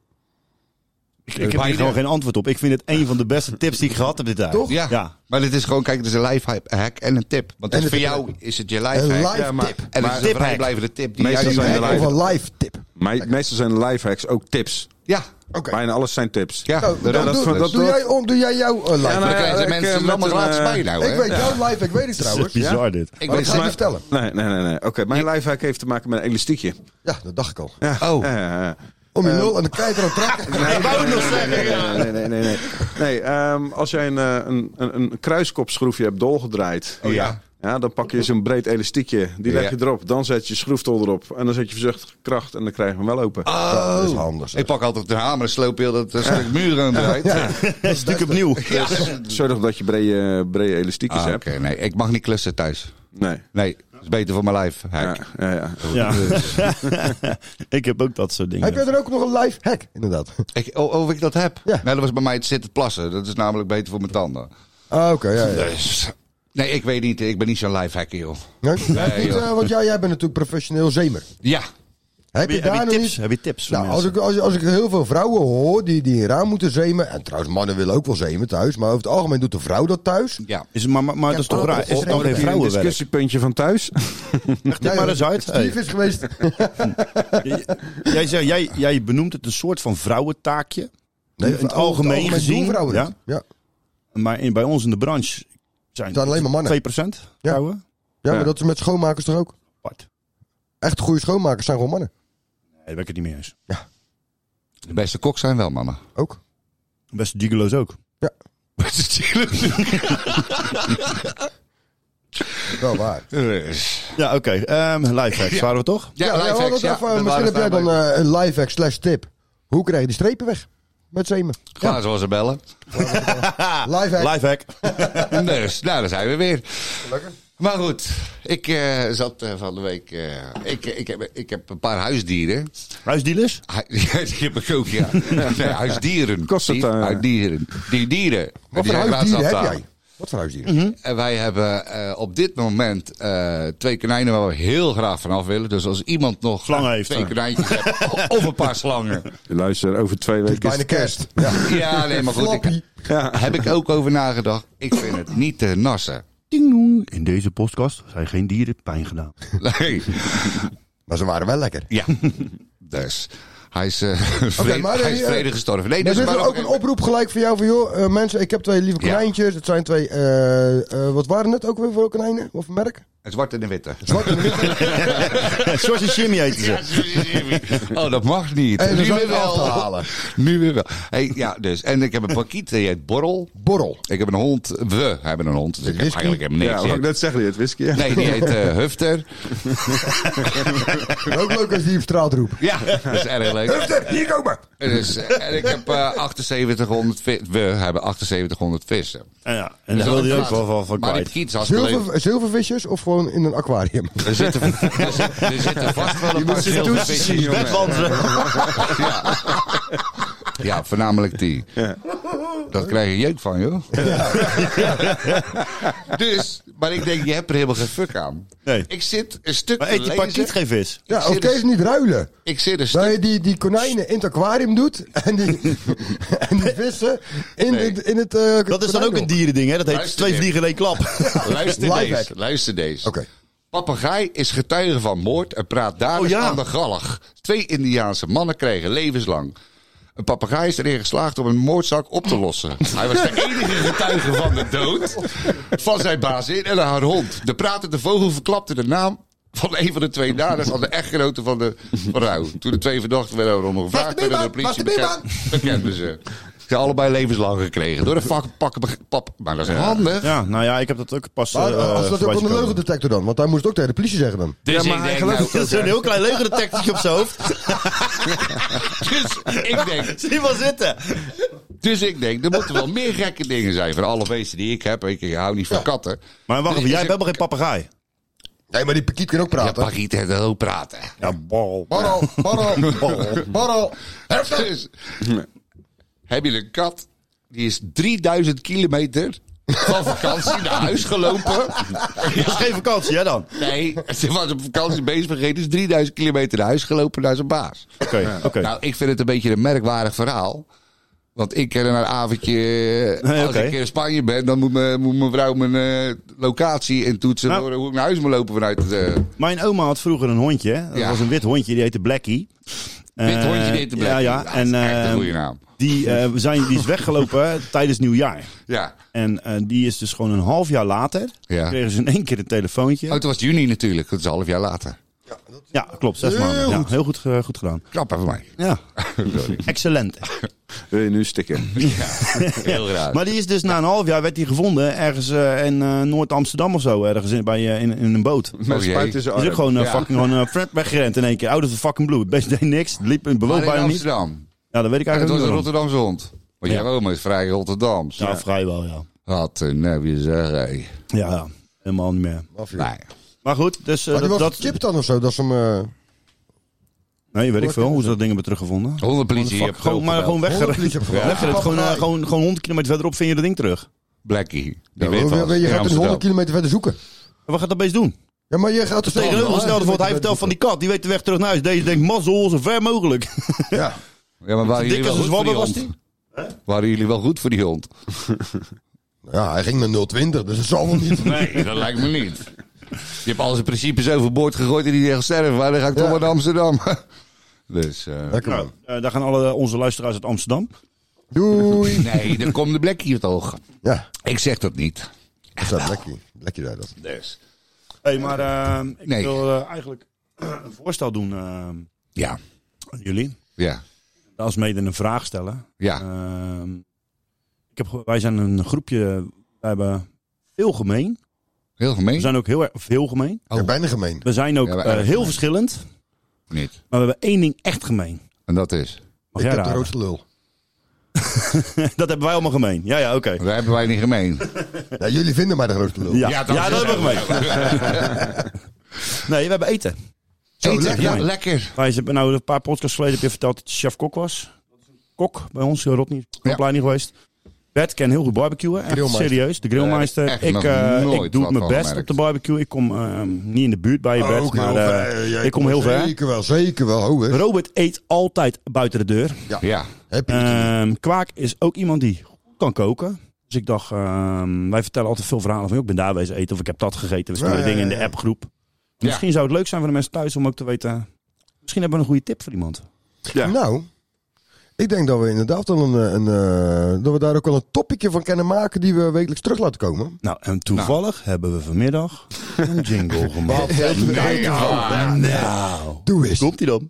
Ik, ik heb hier gewoon geen antwoord op. Ik vind het een van de beste tips die ik gehad heb dit jaar. Toch? Ja. Ja. Maar dit is gewoon, kijk, het is een lifehack en een tip. Want En het- voor het- jou is het je Een lifehack. live ja, maar- tip. En het is een tip vrijblijvende tip. Die Meestal jij zijn de doet. Hack live- of een live tip? Me- meestal zijn de lifehacks ook tips. Ja. Oké. Bijna alles zijn tips. Ja. Nou, dat- dan dat- dat- doe, dat- doe, jij, om, doe jij jouw eh, lifehack? Ja, nou Dan krijgen ik, de eh, mensen met met een een, laatste eh, bij nou, ik hè? weet jouw lifehack, weet ik trouwens. Ja, Bizar dit. Ik maar ik weet het ga je maar. niet vertellen. Nee, nee, nee. nee. Oké, mijn lifehack heeft te maken met een elastiekje. dat dacht ik al. Ja. Oh. Ja, ja, ja. Om je nul en de kei eraan trekken. Nee, nee, nee, Nee, nee, nee. nee, nee. Nee, ehm, als jij een, eh, een, een, een kruiskopschroefje hebt dolgedraaid. Oh, ja. Ja, dan pak je zo'n breed elastiekje. Die leg je Ja. erop. Dan zet je schroeftol erop. En dan zet je verzuchtige kracht. En dan krijg je hem wel open. Dat is handig. Ik pak altijd de hamer en sloop heel dat eh, stuk muren aan de uit. Een stuk opnieuw. Zorg dat je brede, brede elastiekjes Ah, Oké, hebt. nee. Ik mag niet klussen thuis. Nee. Nee, dat is beter voor mijn lijf. Ja, hack. ja, ja. Ja. ik heb ook dat soort dingen. Heb jij er ook nog een live hack? Inderdaad. Ik, oh, oh, of ik dat heb? Ja. Nee, dat was bij mij het zitten plassen. Dat is namelijk beter voor mijn tanden. Ah, oké. ja, ja. Dus, nee, ik weet niet. Ik ben niet zo'n lifehacker, joh. Nee? Niet, joh. eh, want jij, jij bent natuurlijk professioneel zemer. Ja. Heb je, heb je, daar heb je nog tips? niet- Heb je tips voor Nou, als mensen? ik, als, ik- als ik heel veel vrouwen hoor die, die raam moeten zemen. En trouwens, mannen willen ook wel zemen thuis. Maar over het algemeen doet de vrouw dat thuis. Ja. Is, maar maar, maar dat is toch oh, raar? oh, Is het oh, dan geen heb je Een vrouwenwerk? discussiepuntje van thuis. Leg dit maar eens uit. Steve Hey. is geweest. Jij, zegt, jij, jij benoemt het een soort van vrouwentaakje. Nee, in het algemeen gezien, doen vrouwen ja. dat. Ja. Maar in, bij ons in de branche zijn Het zijn alleen maar mannen. 2% vrouwen. Ja, maar Ja. dat is met schoonmakers toch ook? Apart. Echt goede schoonmakers zijn gewoon mannen. Nee, daar ben ik het niet mee eens. De beste kok zijn wel mannen. Ook. Beste gigolo's ook. Wel waar. Ja, oké. Ehm lifehacks waren we toch? Ja, we hadden lifehacks, het ja. even, misschien Dat waren heb jij we dan eh, een live hack slash tip. Hoe krijg je die strepen weg? Met zemen. Glazen was er bellen. Ah, Live hack. Lifehack. Dus, nou, daar zijn we weer. Maar goed, ik eh, zat eh, van de week... eh, ik, ik, heb, ik heb een paar huisdieren. Huisdealers? Hu- Ja, die heb ik ook, ja. Nee, huisdieren. Kost het, Die- eh, Huisdieren. Die dieren. Wat Die voor zijn gratis huisdieren heb afgehaald. jij? Hm? Wat voor huisdieren? En wij hebben eh, op dit moment eh, twee konijnen waar we heel graag vanaf willen. Dus als iemand nog Slangen heeft, twee hè? konijntjes heeft, of een paar slangen. Luister, over twee weken is Bijna het kerst. Ja. Ja, nee, maar goed. Flappy. Ik, heb ik ook over nagedacht. Ik vind het niet te nassen. Ding dong. In deze podcast zijn geen dieren pijn gedaan. Nee. Maar ze waren wel lekker. Ja. Dus. Hij is, eh vrede, maar, eh, hij is eh, vrede gestorven. Nee, Er dus is er waarom- ook een oproep gelijk voor jou van joh, eh, mensen, ik heb twee lieve Ja. konijntjes. Het zijn twee, eh, eh, wat waren het ook weer voor konijnen? Of een merk? Een zwarte en een witte. Zwart en wit. Zoals een Jimmy heette ze. Oh, dat mag niet. En ze nu zijn weer af te wel. halen. Nu weer wel. Hey, ja, dus. En ik heb een pakiet, die heet Borrel. Borrel. Ik heb een hond. We hebben een hond. Dus ik heb whisky? eigenlijk helemaal Ja, niks. wat ik net zeggen, het whisky. Ja. nee, die heet eh, Hufter. ook leuk als die op straat roept. Ja, dat is erg leuk. Hufter, hier komen! Dus, eh, en ik heb eh 7800 vis. We hebben 7800 vissen. Dus En, ja, en daar wilde je ook wel van, van Maar die kwijt. pakiet is hartstikke leuk. Zilver, zilvervisjes of gewoon in een aquarium? Er zitten, er zit- er zitten vast wel een paar zilvervisjes in, jongen. Ja. ja, voornamelijk die. Dat krijg je jeuk van, joh. Dus, maar ik denk, je hebt er helemaal geen fuck aan. Nee. Ik zit een stuk Maar te eet die lezen. pakiet geen vis? Ja, zit of dus- deze niet ruilen. Ik zit een stuk... Dat je die, die konijnen in het aquarium doet en die, en die vissen in, Nee. in, in het eh, Dat is dan ook konijnenhok. een dierending, hè? Dat heet Luister twee dit. vliegen in één klap. Luister Lifehack. deze. Luister deze. Eh, Oké. Papegaai is getuige van moord en praat daders Oh, ja. aan de galg. Twee Indiaanse mannen kregen levenslang. Een papegaai is erin geslaagd om een moordzaak op te lossen. Hij was de enige getuige van de dood van zijn bazin en haar hond. De pratende vogel verklapte de naam van een van de twee daders aan de echtgenote van de vrouw. Toen de twee verdachten werden ondervraagd, Wacht, de werden door de buurman, politie wacht, de bekend, bekenden ze. Ze allebei levenslang gekregen. Door de vak, pak, pap. Maar dat is handig. Ja, nou ja, ik heb dat ook pas. Maar, eh, Ah, als dat ook voorbij op zien een komen. leugendetector dan? Want hij moest ook tegen de politie zeggen dan. Dus ik denk, nou, Dat is een heel klein leugendetectietje op zijn hoofd. Nou, dus ik denk, Zie je wel zitten. Dus ik denk, er moeten wel meer gekke dingen zijn. Van alle beesten die ik heb. Ik, ik hou niet van katten. Maar wacht even, Is jij er- hebt helemaal geen papegaai. Nee, maar die pakiet kan ook Ja, praten. Pagiet en ook praten. Ja, bal. Borrel, borrel, borrel, borrel. Dus, hebben jullie een kat? Die is 3000 kilometer van vakantie naar huis gelopen. Dat is geen vakantie, hè dan? Nee, ze was op vakantie bezig vergeten. Is 3000 kilometer naar huis gelopen naar zijn baas. Oké, oké. Nou, ik vind het een beetje een merkwaardig verhaal. Want ik ken een avondje. Nee, als oké. ik in Spanje ben, dan moet, me, moet mijn vrouw mijn eh, locatie intoetsen. Nou. door hoe ik naar huis moet lopen vanuit het. eh, Mijn oma had vroeger een hondje. hè. Dat Ja. was een wit hondje, die heette Blackie. wit Eh, hondje deed de Ja, ja. Nou, Dat En, is echt een eh, goede naam. Die, eh, we zijn, die is weggelopen tijdens nieuwjaar. Ja. En eh, die is dus gewoon een half jaar later. Ja. Kregen ze in één keer een telefoontje. Oh, toen was het juni natuurlijk. Dat is een half jaar later. Ja, klopt. Zes maanden. Ja, heel goed, ge- goed gedaan. Knap hè, voor mij. Ja, Sorry. excellent. Wil je nu stikken? Heel raar. Maar die is dus na een half jaar werd die gevonden ergens eh, in eh, Noord-Amsterdam of zo. Ergens in, bij, eh, in, in een boot. Die Met Oh jee. spuit in zijn is arm. ook gewoon eh, Ja. fucking gewoon, eh, Fred weggerend in één keer. Out of the fucking blue. Het beest deed niks. Het Liep in bewoog Maar in bijna niet. Amsterdam. Ja, dat weet ik Het eigenlijk was niet. een waarom. Rotterdamse hond. Want Ja. jouw oma is vrij Rotterdams. Ja, vrijwel, ja. Wat een eh, nebbie zeg. hé. Ja, ja. helemaal niet meer. Mafia. Nou, ja. Maar goed, dus eh, Maar die dat... was dat gechipt dan of zo? Dat ze hem... eh, nee, weet ik veel hoe ze dat ding hebben teruggevonden. Honderd politie. je Fuck, hebt gewoon, maar opgebeld. gewoon Honderd weggerend. politie hebben gehaald. Weggerend. Gewoon, eh, gewoon, gewoon 100 kilometer verderop vind je dat ding terug. Blackie. Die Ja, weet maar wat. je- je gaat In dus Amsterdam. 100 kilometer verder zoeken. En wat gaat dat beest doen? Ja, maar je gaat dus Tegenovergestelde voor wat hij vertelt van die kat. Die weet de weg terug naar huis. Deze denkt, mazzel, zo ver mogelijk. Ja. Ja, maar waren jullie Dik wel als een goed voor zwabber die was hond? die. Waren jullie wel goed voor die hond? ja, hij ging naar 020, dus dat zal wel niet. Nee, dat lijkt me niet. Je hebt al zijn principes overboord gegooid en die zegt sterven. Waar dan ga ik toch Ja. maar naar Amsterdam? Dus, eh, Lekker man. Eh, daar gaan alle onze luisteraars uit Amsterdam. Doei. nee, dan komt de Blackie het oog. Ja, Ik zeg dat niet. dat is lekkie. Lekkie daar dat. Dus, Hey, maar eh, ik Nee. wil eh, eigenlijk een voorstel doen eh, ja, aan jullie. ja, Als mede een vraag stellen. ja. Ehm, ik heb, ge- wij zijn een groepje, we hebben veel gemeen. Heel We gemeen. zijn ook heel erg veel gemeen. Ja, bijna gemeen. We zijn ook Ja, maar eh, erg heel gemeen. verschillend. Niet. Maar we hebben één ding echt gemeen. En dat is. Mag Ik jij heb de raden? roodste lul. Dat hebben wij allemaal gemeen. Ja, ja, oké. Daar hebben wij niet gemeen. Ja, jullie vinden mij de grootste lul. Ja, Ja, ja, dat dat, is hebben we gemeen. nee, we hebben eten. Zo, Eten, lekker. ja, lekker. Wij hebben nou een paar podcasts geleden heb je verteld dat je chef kok was. Kok bij ons, eh, Rodney, opleiding geweest. Bert kan heel goed barbecuen. Echt Grillmeister. serieus, de grillmeister. Ja, echt ik, nog eh, ik nooit doe wat het mijn van best gemerkt. op de barbecue. Ik kom eh, niet in de buurt bij je Bert, Ook maar heel eh, ver. Jij ik kom heel komt ver. Zeker wel, zeker wel. Ho, hè. Robert eet altijd buiten de deur. Ja, Heb je het? Ehm, Kwaak is ook iemand die goed kan koken. Dus ik dacht, ehm, wij vertellen altijd veel verhalen van ik ben daar wezen eten of ik heb dat gegeten. We sturen Ja, ja, dingen in ja, de ja. appgroep. Ja. Misschien zou het leuk zijn voor de mensen thuis om ook te weten. Misschien hebben we een goede tip voor iemand. Ja. Nou, ik denk dat we inderdaad wel een, eh, een eh, dat we daar ook wel een topicje van kunnen maken die we wekelijks terug laten komen. Nou, en toevallig hebben we vanmiddag een jingle gemaakt. Doe eens. Komt die dan?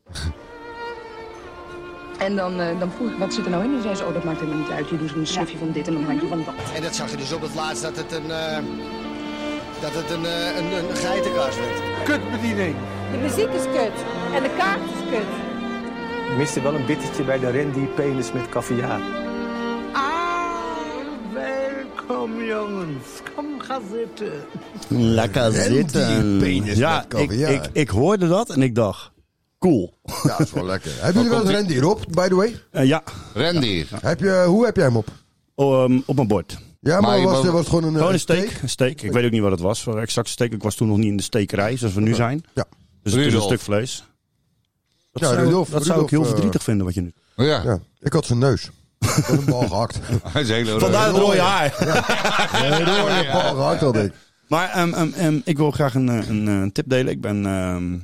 En dan, eh, dan vroeg ik, wat zit er nou in? En zei ze, oh, dat maakt helemaal niet uit. Je doet een snufje van dit en een handje van dat. En dat zag je dus op het laatst dat het een, eh, dat het een, eh, een, een geitenkaas werd. De muziek is kut. En de kaart is kut. Ik miste wel een bittertje bij de Randy Penis met caviar. Ah, welkom jongens. Kom ga zitten. Lekker zitten. penis Ja, met ik, kaviaar. ik, ik hoorde dat en ik dacht, cool. Ja, dat is wel lekker. Hebben jullie wel eens Randy op, by the way? Eh, ja, Randy. Heb je, hoe heb jij hem op? oh, ehm, op mijn bord. Ja, Maar maar, je was, mag- was het gewoon een, eh, Gewoon een steek. Een steek. Ik weet ook niet wat het was. Voor exact steek. Ik was toen nog niet in de stekerij, zoals we nu zijn. Ja. Dus het is een Rudolf. stuk vlees. Dat, Ja, zou, Rudolf, dat zou ik Rudolf, heel eh, verdrietig vinden wat je nu... Ja, Ja, ik had zijn neus. Ik had een bal gehakt. hij is heel Vandaar het rode haar. Een bal gehakt had ik. Maar ehm, ehm, ehm, ik wil graag een, eh, een, eh, tip delen. Ik ben ehm,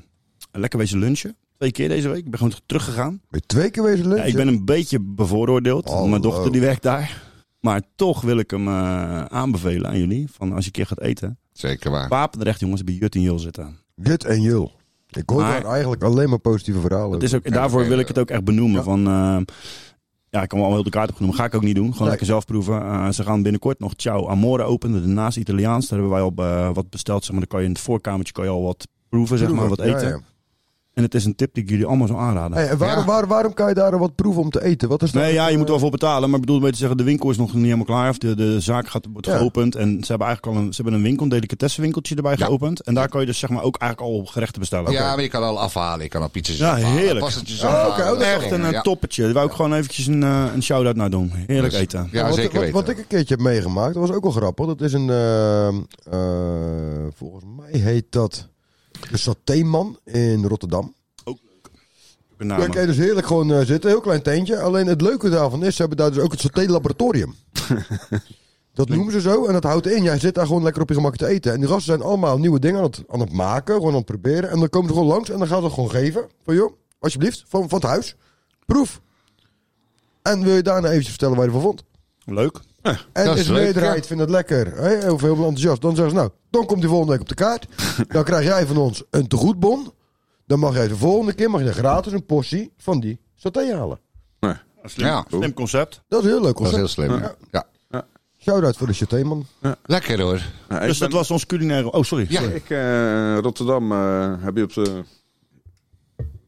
lekker wezen lunchen. Twee keer deze week. Ik ben gewoon teruggegaan. Ben je twee keer wezen lunchen? Ja, ik ben een beetje bevooroordeeld. Hallo. Mijn dochter die werkt daar. Maar toch wil ik hem eh, aanbevelen aan jullie. Van als je een keer gaat eten. Zeker waar. Papendrecht jongens bij Jut en Jul zitten. Jut en Jul. Ik hoor Maar- daar eigenlijk alleen maar positieve verhalen Het is ook, Ja, daarvoor oké, wil ik het ook echt benoemen. Van, eh, Ja, ik kan wel heel de kaart opgenomen. Ga ik ook niet doen. Gewoon lekker zelf proeven. Eh, ze gaan binnenkort nog Ciao Amore openen. Daarnaast Italiaans. Daar hebben wij al eh, wat besteld. Zeg maar. Dan kan je in het voorkamertje kan je al wat proeven, zeg maar, wat Proeven, ja, eten. ja. En het is een tip die ik jullie allemaal zou aanraden. Hey, Nou en waarom, waar- waarom kan je daar wat proeven om te eten? Wat is dat? Nee, ja, je moet er wel voor betalen. Maar ik bedoel mee te zeggen, de winkel is nog niet helemaal klaar. Of de, de zaak gaat, wordt Ja. geopend. En ze hebben eigenlijk al een, ze hebben een winkel, een delicatessenwinkeltje erbij Ja. geopend. En daar kan je dus zeg maar ook eigenlijk al gerechten bestellen. Ja, maar je kan al afhalen. Je kan al pizza's Ja, afhalen. heerlijk. Pastatjes Oh, afhalen. oké, dat is Echt een eh, Ja. toppetje. Daar wou ik gewoon eventjes een, eh, een shout-out naar doen. Heerlijk Dus- eten. Ja, wat, zeker wat, weten. Wat ik een keertje heb meegemaakt, dat was ook wel grappig. Dat is een, ehm, eh, volgens mij heet dat de Satéman in Rotterdam. Namen. Daar kan je dus heerlijk gewoon eh, zitten. Heel klein teentje. Alleen het leuke daarvan is, ze hebben daar dus ook het saté-laboratorium. dat noemen ze zo. En dat houdt in, jij zit daar gewoon lekker op je gemak te eten. En die gasten zijn allemaal nieuwe dingen aan het, aan het maken. Gewoon aan het proberen. En dan komen ze gewoon langs en dan gaan ze het gewoon geven. Van joh, alsjeblieft, van, van het huis. Proef. En wil je daarna eventjes vertellen waar je van vond? Leuk. En Dat is, is de leuk, meerderheid vindt het lekker. Hè? Of heel enthousiast. Dan zeggen ze, nou, dan komt die volgende week op de kaart. Dan krijg jij van ons een tegoedbon. Dan mag jij de volgende keer mag je gratis een portie van die saté halen. Slim, Ja. slim concept. Dat is heel leuk. Dat is heel Concept. slim. Ja. Shout-out voor de saté, man. Lekker hoor. Nou, ik Dus ben- dat was ons culinaire... Oh, sorry. Ja. Ik, eh, Rotterdam eh, heb je op de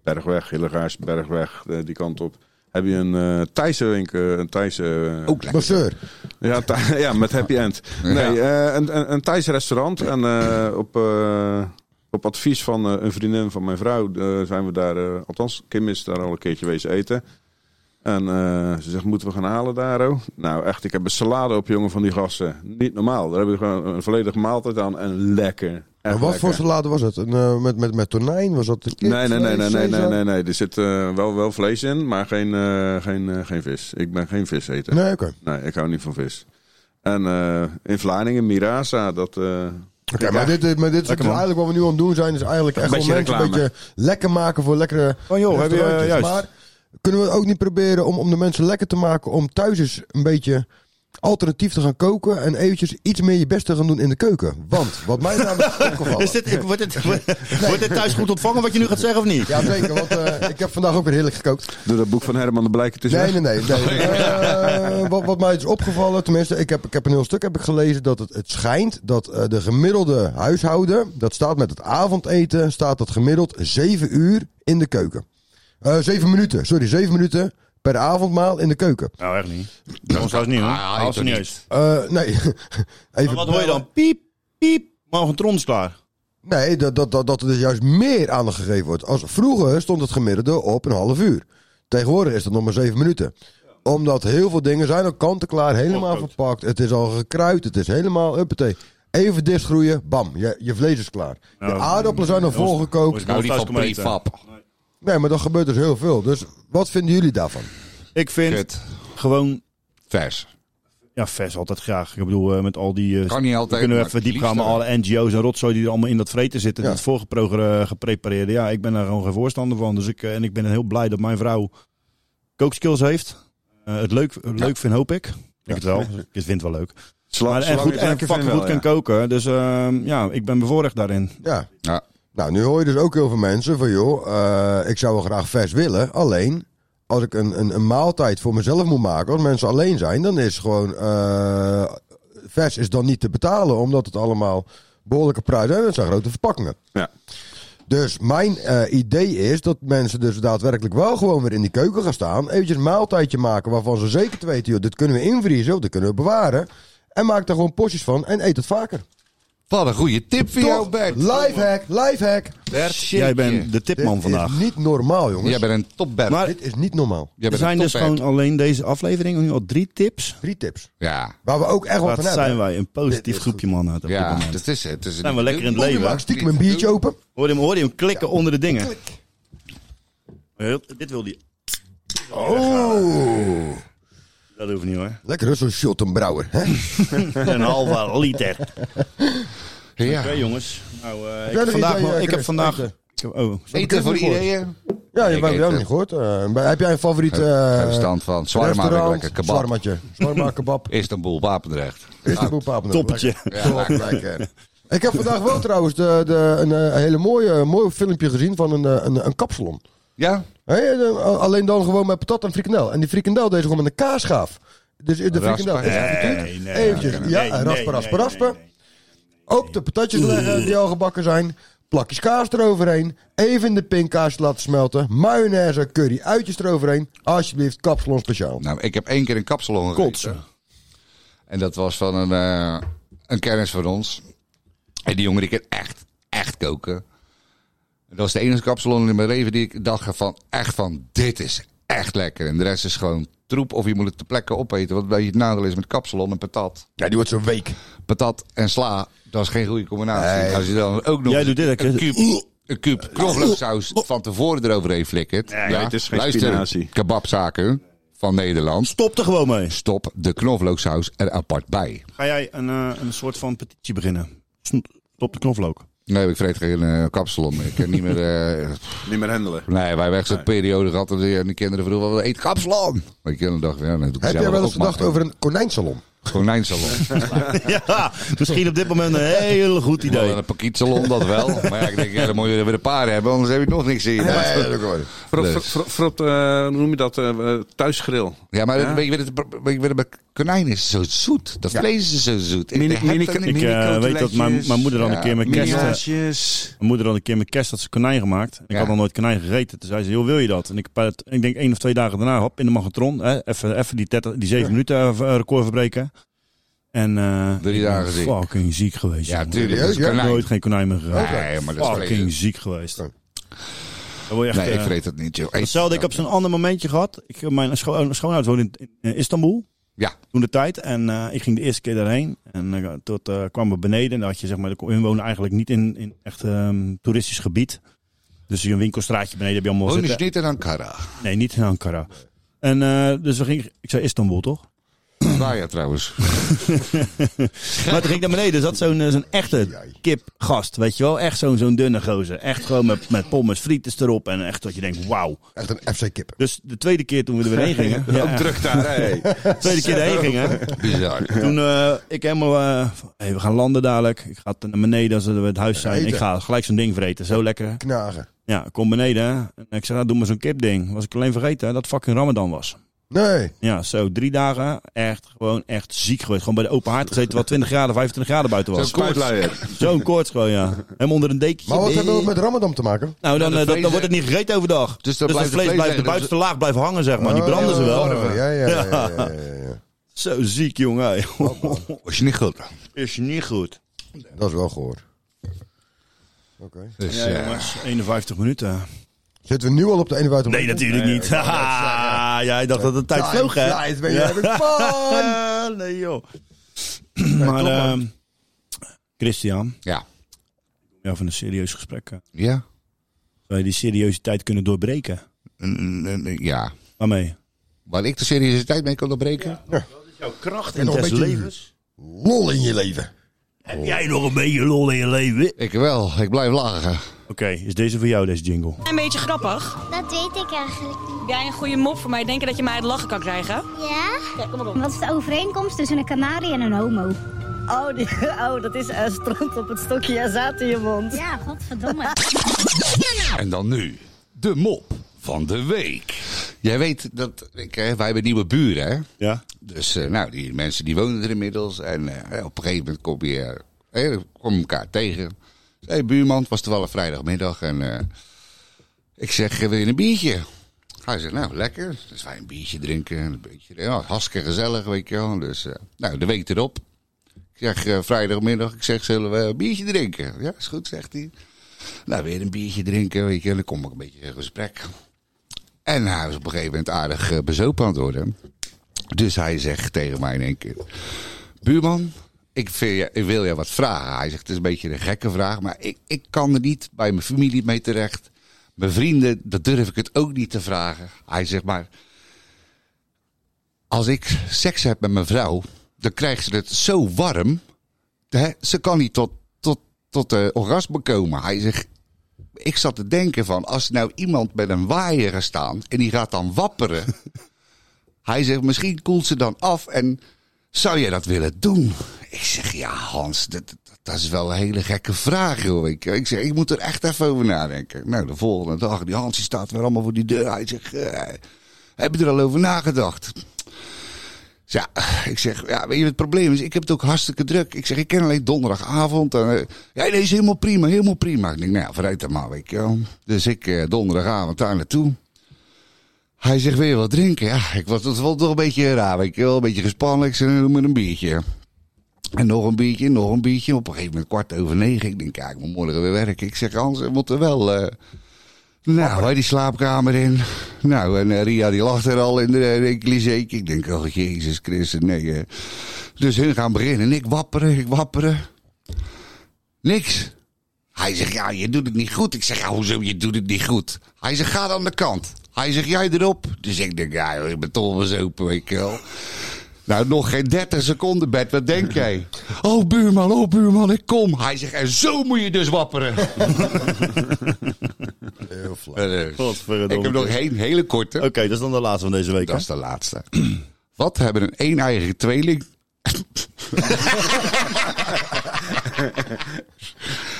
Bergweg, Hillegaars, Bergweg, eh, die kant op. Heb je een eh Thaise winkel, een Thaise... eh, Ook lekker. Masseur. ja, Tha- ja, met happy end. Nee, eh, een, een, een Thaise restaurant. En eh, op, eh, op advies van eh, een vriendin van mijn vrouw eh, zijn we daar... eh, althans, Kim is daar al een keertje wezen eten. En eh, ze zegt, moeten we gaan halen daar, oh? Nou, echt, ik heb een salade op, jongen, van die gasten. Niet normaal. Daar heb je gewoon een volledige maaltijd aan en lekker. Echt En wat lekker. voor salade was het? Een, eh, met, met, met tonijn? Was dat kip, Nee, nee, nee, nee, vlees, nee, nee, sesam? nee, nee. Er zit eh, wel, wel vlees in, maar geen, eh, geen, eh, geen vis. Ik ben geen vis eten. Nee, oké. Nee, ik hou niet van vis. En eh, in Vlaardingen, Mirasa, dat... eh Oké, maar dit, dit- maar dit is Lekker, man. eigenlijk wat we nu aan het doen zijn. Is eigenlijk echt Een beetje gewoon mensen een beetje reclame. lekker maken voor lekkere Van joh, heb je, eh, restaurantjes. juist. Maar kunnen we het ook niet proberen om, om de mensen lekker te maken om thuis eens een beetje alternatief te gaan koken en eventjes iets meer je best te gaan doen in de keuken? Want wat mij namelijk is opgevallen. Is dit, ik- wordt, dit, wordt dit thuis goed ontvangen wat je nu gaat zeggen of niet? Ja, zeker, want eh, ik heb vandaag ook weer heerlijk gekookt. Doe dat boek van Herman de Blijker tussen. Nee, nee, nee. nee. Eh, wat, wat mij is opgevallen, tenminste, ik heb, ik heb een heel stuk heb ik gelezen dat het, het schijnt dat eh, de gemiddelde huishouden, dat staat met het avondeten, staat dat gemiddeld zeven uur in de keuken. Eh zeven minuten, sorry, zeven minuten per avondmaal in de keuken. Nou, echt niet. Dat was trouwens niet, hoor. Ah, ik Hou ze ook niet niet. eens. Eh, nee, even. Maar wat hoor je dan? Piep, piep. Magnetron is klaar. Nee, dat, dat, dat, dat er dus juist meer aandacht gegeven wordt. Als, vroeger stond het gemiddelde op een half uur. Tegenwoordig is dat nog maar zeven minuten. Omdat heel veel dingen zijn al kant-en-klaar, helemaal verpakt. Het is al gekruid, het is helemaal uppatee. Even dicht groeien, bam, je, je vlees is klaar. De Nou, aardappelen zijn al heel- volgekookt. heel- Nou, die Thuis van komen eten. prefab. Nee, maar dat gebeurt dus heel veel. Dus wat vinden jullie daarvan? Ik vind Kut. gewoon... Vers. Ja, vers altijd graag. Ik bedoel, eh, met al die... eh, Kan niet we altijd. kunnen we maar even diep liefst gaan met wel. alle NGO's en rotzooi die er allemaal in dat vreten zitten. Ja. Dat voorgeprogre- geprepareerde. eh, Ja, ik ben daar gewoon geen voorstander van. Dus ik, eh, en ik ben heel blij dat mijn vrouw kookskills heeft. Eh, het leuk, leuk vind, hoop ik. Ik het wel. Ik vind het wel leuk. Sla- Maar, en slang goed, in en het fucking vind goed wel, kan ja. koken. Dus ehm, ja, ik ben bevoorrecht daarin. Ja. Ja. Nou, nu hoor je dus ook heel veel mensen van joh, eh, ik zou wel graag vers willen. Alleen als ik een, een, een maaltijd voor mezelf moet maken, als mensen alleen zijn, dan is gewoon eh, vers is dan niet te betalen, omdat het allemaal behoorlijke prijzen zijn. en Het zijn grote verpakkingen. Ja. Dus mijn eh, idee is dat mensen dus daadwerkelijk wel gewoon weer in die keuken gaan staan. Eventjes een maaltijdje maken waarvan ze zeker te weten, joh, dit kunnen we invriezen of dit kunnen we bewaren. En maak daar gewoon porties van en eet het vaker. Wat een goede tip voor jou, Toch? Bert. Lifehack, lifehack. Bert, Jij shitje. bent de Dit tipman vandaag. is niet normaal, jongens. Jij bent een topbert. Maar- Dit is niet normaal. Jij Er bent zijn een dus topbert. gewoon alleen deze aflevering nu al drie tips. Drie tips. Ja. Waar we ook echt wat Wat van hebben. zijn wij? Een Dit positief is groepje mannen. op dit Ja, moment. dat is het. Dat is Zijn we lekker in het Je leven? maakt stiekem een biertje open. Hoor je hem, hoor je hem klikken onder de dingen. Heel- Dit wil die. Oh. Dat hoeft niet hoor. Lekker zo'n Schottenbrouwer. hè? Een halve liter. Ja. Oké jongens. Nou, eh, ik, nog heb iets vandaag, aan je, nog- ik heb Chris? vandaag... Eten. Ik heb, oh, sorry. Eten voor Christmas iedereen. Eh, Ja, je Ik hebt eet jou het. niet gehoord. Eh, maar heb jij een favoriet eh Geen verstand van. Zwarma heb ik restaurant? lekker. Kebab. Zwarmatje. Zwarma, kebab. Istanbul, Wapendrecht. Is de boel papen. Toppetje. Lekker. Top, lekker. Ik heb vandaag wel trouwens de, de, een eh, hele mooie, mooi filmpje gezien van een, eh, een, een kapsalon. Ja? Hè, de- alleen dan gewoon met patat en frikandel. En die frikandel deed ze gewoon met een kaasschaaf. Dus de frikandel is gefrituurd. Eventjes, ja, raspen, raspen, raspen. Ook de patatjes leggen die al gebakken zijn. Plakjes kaas eroverheen. Even de pinkaas laten smelten. Mayonaise, curry, uitjes eroverheen. Alsjeblieft, kapsalon speciaal. Nou, ik heb één keer een kapsalon gegeten. En dat was van een, eh, een kennis van ons. En die jongen die kan echt, echt koken. Dat was de enige kapsalon in mijn leven die ik dacht van, echt van, dit is echt lekker. En de rest is gewoon troep of je moet het ter plekke opeten. Wat een beetje het nadeel is met kapsalon en patat. Ja, die wordt zo week. Patat en sla, dat is geen goede combinatie. Nee. Als je dan ook nog Jij doet dit, hè? een kuub, een kuub knoflooksaus van tevoren eroverheen flikkert. Nee, het is geen luister, spinazie. kebabzaken van Nederland. Stop er gewoon mee. Stop de knoflooksaus er apart bij. Ga jij een, eh, een soort van petitie beginnen? Stop de knoflook. Nee, ik vreet geen eh, kapsalon meer. Ik kan niet meer... eh, Niet meer handelen. nee, wij hebben echt zo'n periode gehad dat die die kinderen vroegen, "Wat eet kapsalon? Maar die kinderen dachten, ja, dat doe ik Heb zelf jij wel eens ook maar. gedacht over een konijnsalon? Konijnsalon. ja, misschien op dit moment een heel goed idee. Wel een pakietsalon, dat wel. Maar ja, ik denk, ja, dan moet je er weer een paar hebben, anders heb je nog niks in je Nee, mond. dat is ook wel. Frot, Dus. frot, frot, frot, eh, hoe noem je dat? eh, eh, thuisgril. Ja, maar Ja. Weet je, wat het, weet je wat het bij konijn is zo zoet. Dat vlees is zo zoet. Ik Mini- heb mini- dat niet. mini- Ik eh, weet dat mijn, mijn moeder dan Ja, een keer met kerst... eh, Miniatjes. Mijn moeder had een keer met kerst had ze konijn gemaakt. Ik Ja. had nog nooit konijn gegeten. Toen zei ze, joh, wil je dat? En ik, heb het- ik denk één of twee dagen daarna, hop, in de magnetron. Hè, even, even die, 30 die zeven minuten eh, record verbreken. En eh Drie ik ben dagen ziek. fucking ziek geweest. Ja, jongen. tuurlijk. Dat is Ja, ja. Ik heb konijn. nooit geen konijn meer gegeten. Nee, maar dat is eh, fucking vlees. ziek geweest. Dan word je echt, Nee, ik eh, vreet dat niet, joh. Hetzelfde, ik heb zo'n ander momentje gehad. Ik, mijn scho schoonouders woonden in, in Istanbul. Ja. Toen de tijd. En eh, ik ging de eerste keer daarheen. En eh, tot eh, kwamen we beneden. En dan had je, zeg maar, de- hun wonen eigenlijk niet in, in echt ehm, toeristisch gebied. Dus hier een winkelstraatje beneden heb je allemaal Woon is zitten. niet Oh, in Ankara. Nee, niet in Ankara. En eh, dus we gingen, ik zei Istanbul toch? Waar ja, trouwens. Maar toen ging ik naar beneden, zat zo'n eh, zo'n echte kipgast, weet je wel? Echt zo'n zo'n dunne gozer. Echt gewoon met, met pommes frites erop en echt dat je denkt, wauw. Echt een FC-kip. Dus de tweede keer toen we er weer heen gingen. ja, Ook druk daar, hé. de tweede keer erheen gingen. Bizar. Toen eh, ik helemaal, eh, van, hey, we gaan landen dadelijk. Ik ga naar beneden als we bij het huis zijn. Eten. Ik ga gelijk zo'n ding vreten, zo lekker. Knagen. Ja, ik kom beneden. hè. En ik zeg, nou, doe maar zo'n kipding. Was ik alleen vergeten hè, dat fucking Ramadan was. Nee. Ja, zo drie dagen echt gewoon echt ziek geweest. Gewoon bij de open haard gezeten, wel 20 graden, 25 graden buiten was. Spuitluier. Zo'n koorts gewoon, ja. Helemaal onder een dekentje. Maar wat hebben we met Ramadan te maken? Nou, dan, Ja, eh, de dat, vlees- dan wordt het niet gegeten overdag. Dus, dan dat blijft vlees, het vlees blijft de liggen, dus- buitenste laag blijft hangen, zeg maar. Die Oh, branden ze wel. Ja, ja, ja. ja, ja, ja, ja. Zo ziek, jongen. Was je niet goed? Is niet goed. Dat is wel gehoord. Oké. Dus, Ja, eh, jongens, 51 minuten. Zitten we nu al op de 51 Nee, natuurlijk niet. Haha, Jij dacht dat het tijd Time vloog, hè? flies when you're having fun. nee, joh. top, Maar, man. ehm, Christian, ja. ja, van een serieus gesprek. hè. Ja. Zou je die seriositeit kunnen doorbreken? Mm, mm, mm, Ja. Waarmee? Waar ik de seriositeit mee kon doorbreken? Jouw kracht En nog een beetje lol in je leven. Heb jij nog een beetje lol in je leven? Oké, Ik wel. Ik blijf lachen. is deze voor jou, deze jingle? Een beetje grappig. Dat weet ik eigenlijk niet. Heb jij een goede mop voor mij? Denken dat je mij het lachen kan krijgen? Ja? Kijk, kom maar op. Wat is de overeenkomst tussen een kanarie en een homo? Oh, die, oh dat is eh stront op het stokje en zaad in je mond. Ja, godverdomme. En dan nu. De mop van de week. Jij weet dat... Ik, eh, wij hebben nieuwe buren, hè? Ja? Dus eh, nou, die mensen die wonen er inmiddels. En eh, op een gegeven moment kom je, eh, eh, kom je elkaar tegen. Hé, hey, buurman, het was toevallig vrijdagmiddag. En eh, ik zeg, eh, wil je een biertje? Hij zegt, nou, lekker. Dus wij een biertje drinken. en Een beetje, ja, hartstikke gezellig, weet je wel. Dus eh, nou, de week erop. Ik zeg, eh, vrijdagmiddag, ik zeg, zullen we een biertje drinken? Ja, is goed, zegt hij. Nou, weer een biertje drinken, weet je. En dan kom ik een beetje in gesprek. En hij was op een gegeven moment aardig eh, bezopen aan het worden. Dus hij zegt tegen mij in één keer: Buurman, ik, vind je- ik wil je wat vragen. Hij zegt: Het is een beetje een gekke vraag, maar ik, ik kan er niet bij mijn familie mee terecht. Mijn vrienden, dat durf ik het ook niet te vragen. Hij zegt maar: Als ik seks heb met mijn vrouw, dan krijgt ze het zo warm. Hè, ze kan niet tot, tot, tot eh, orgasme komen. Hij zegt: Ik zat te denken van, als nou iemand met een waaier gaat staan en die gaat dan wapperen. Hij zegt, misschien koelt ze dan af en zou jij dat willen doen? Ik zeg, ja Hans, dat, dat, Dat is wel een hele gekke vraag, joh. Ik, ik zeg, ik moet er echt even over nadenken. Nou, de volgende dag, die Hans die staat weer allemaal voor die deur. Hij zegt, eh, heb je er al over nagedacht? Dus ja, ik zeg, ja, weet je, het probleem is, ik heb het ook hartstikke druk. Ik zeg, ik ken alleen donderdagavond. En, eh, ja, nee, is helemaal prima, helemaal prima. Ik denk, nou ja, vooruit dan maar, weet je wel. Dus ik eh, donderdagavond daar naartoe. Hij zegt, wil je wat drinken? Ja, ik was, dat was toch een beetje raar, weet je wel. Een beetje gespannen. Ik zeg, "Nou, doe maar een biertje. En nog een biertje, nog een biertje. Op een gegeven moment kwart over negen. Ik denk, ja, ik moet morgen weer werken. Ik zeg, Hans, we moeten wel... eh, nou, wij die slaapkamer in. Nou, en eh, Ria die lag er al in de uh, Ik denk, oh jezus Christus, nee. eh. Dus hun gaan beginnen. En ik wapperen, ik wapperen. Niks. Hij zegt, ja, je doet het niet goed. Ik zeg, ja, hoezo, je doet het niet goed? Hij zegt, ga dan aan de kant. Hij zegt, jij erop. Dus ik denk, ja, joh, ik ben toch wel bezopen, weet je wel. Nou, nog geen 30 seconden bed, wat denk jij? Oh, buurman, oh, buurman, ik kom. Hij zegt, en zo moet je dus wapperen. Heel flauw. Eh, Godverdomme. Ik heb nog een hele korte. Oké, dat is dan de laatste van deze week. Dat is de laatste. Wat hebben een een-eiige tweeling...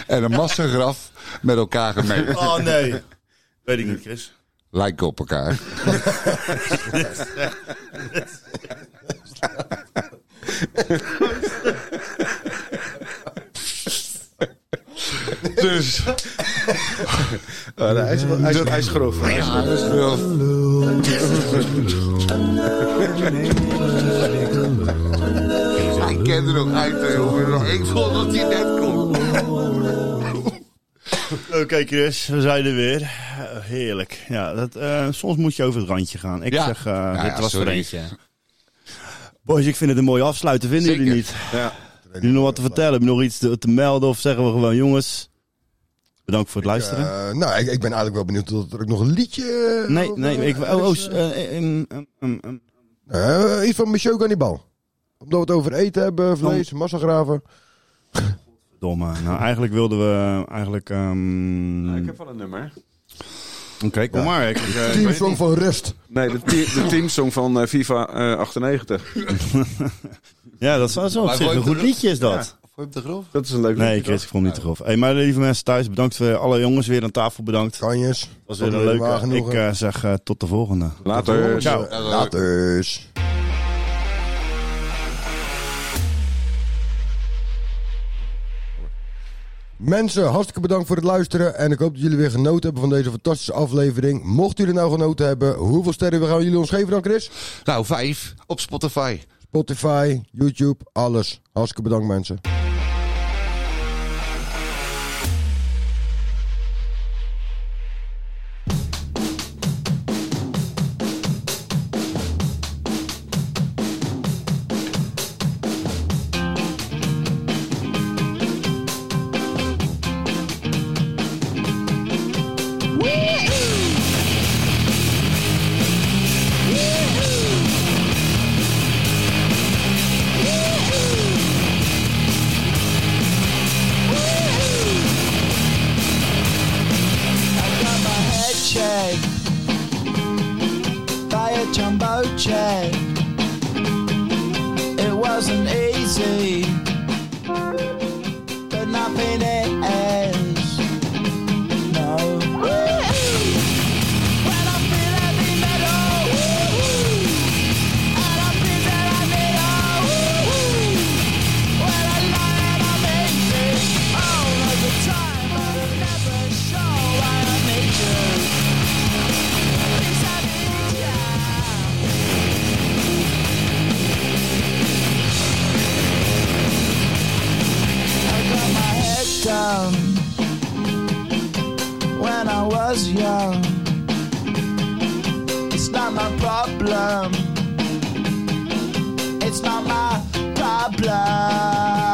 en een massagraf met elkaar gemeen? Oh nee. Weet ik niet, Chris. Lijken op elkaar. dus... Ah, nee, hij, is, wel- hij, is, hij is grof. Hij is grof. Hij kende nog uit, hè, jongen. Ik vond dat hij net komt. Oké, Chris, we zijn er weer. Eh, Heerlijk. Ja, dat, eh, soms moet je over het randje gaan. Ik Ja. zeg, eh, Nou dit ja, was sorry. er eentje. Boys, ik vind het een mooie afsluiter, vinden Zeker. jullie niet? Ja. Hebben jullie nog wat te vertellen? Hebben jullie nog iets te, te melden? Of zeggen we gewoon, jongens, bedankt voor het luisteren. Eh, nou, ik, ik ben eigenlijk wel benieuwd of er ook nog een liedje... eh, nee, of, nee, eh, ik... Oh, oh, is, eh, eh, in- in- in- in- eh, iets van Michel Cannibal. Omdat we het over eten hebben, vlees, massagraven. Domme. Nou, eigenlijk wilden we eigenlijk... ehm, Ik heb wel een nummer. Oké, kom maar. Ik, ik, eh, ik weet Team het Song van Rust. Nee, de, te- de teamsong van eh, FIFA eh, 98. niet. Ja, dat is zo op Maar zich. gooi Een het goed liedje is dat. Vond je hem te grof? Dat is een leuk Nee, liedje, Chris, ik vond het niet te grof. Hey, maar lieve mensen thuis, bedankt voor alle jongens weer aan tafel. Bedankt. Het Kanjes. was weer een leuke. Ik eh, zeg eh, tot de volgende. toch? Later. Ciao. Laters. Mensen, hartstikke bedankt voor het luisteren. En ik hoop dat jullie weer genoten hebben van deze fantastische aflevering. Mochten jullie nou genoten hebben, hoeveel sterren gaan jullie ons geven dan, Chris? Nou, vijf op Spotify. Spotify, YouTube, alles. Hartstikke bedankt, mensen. got my head shaved by a jumbo jet. It wasn't easy, but nothing is. No. When I feel heavy metal, and I feel that I'm in awe, when I lie and I'm empty all of the time, I never show why I need you. Please, I need ya. I got my head down when I was young. It's not my problem. It's not my problem.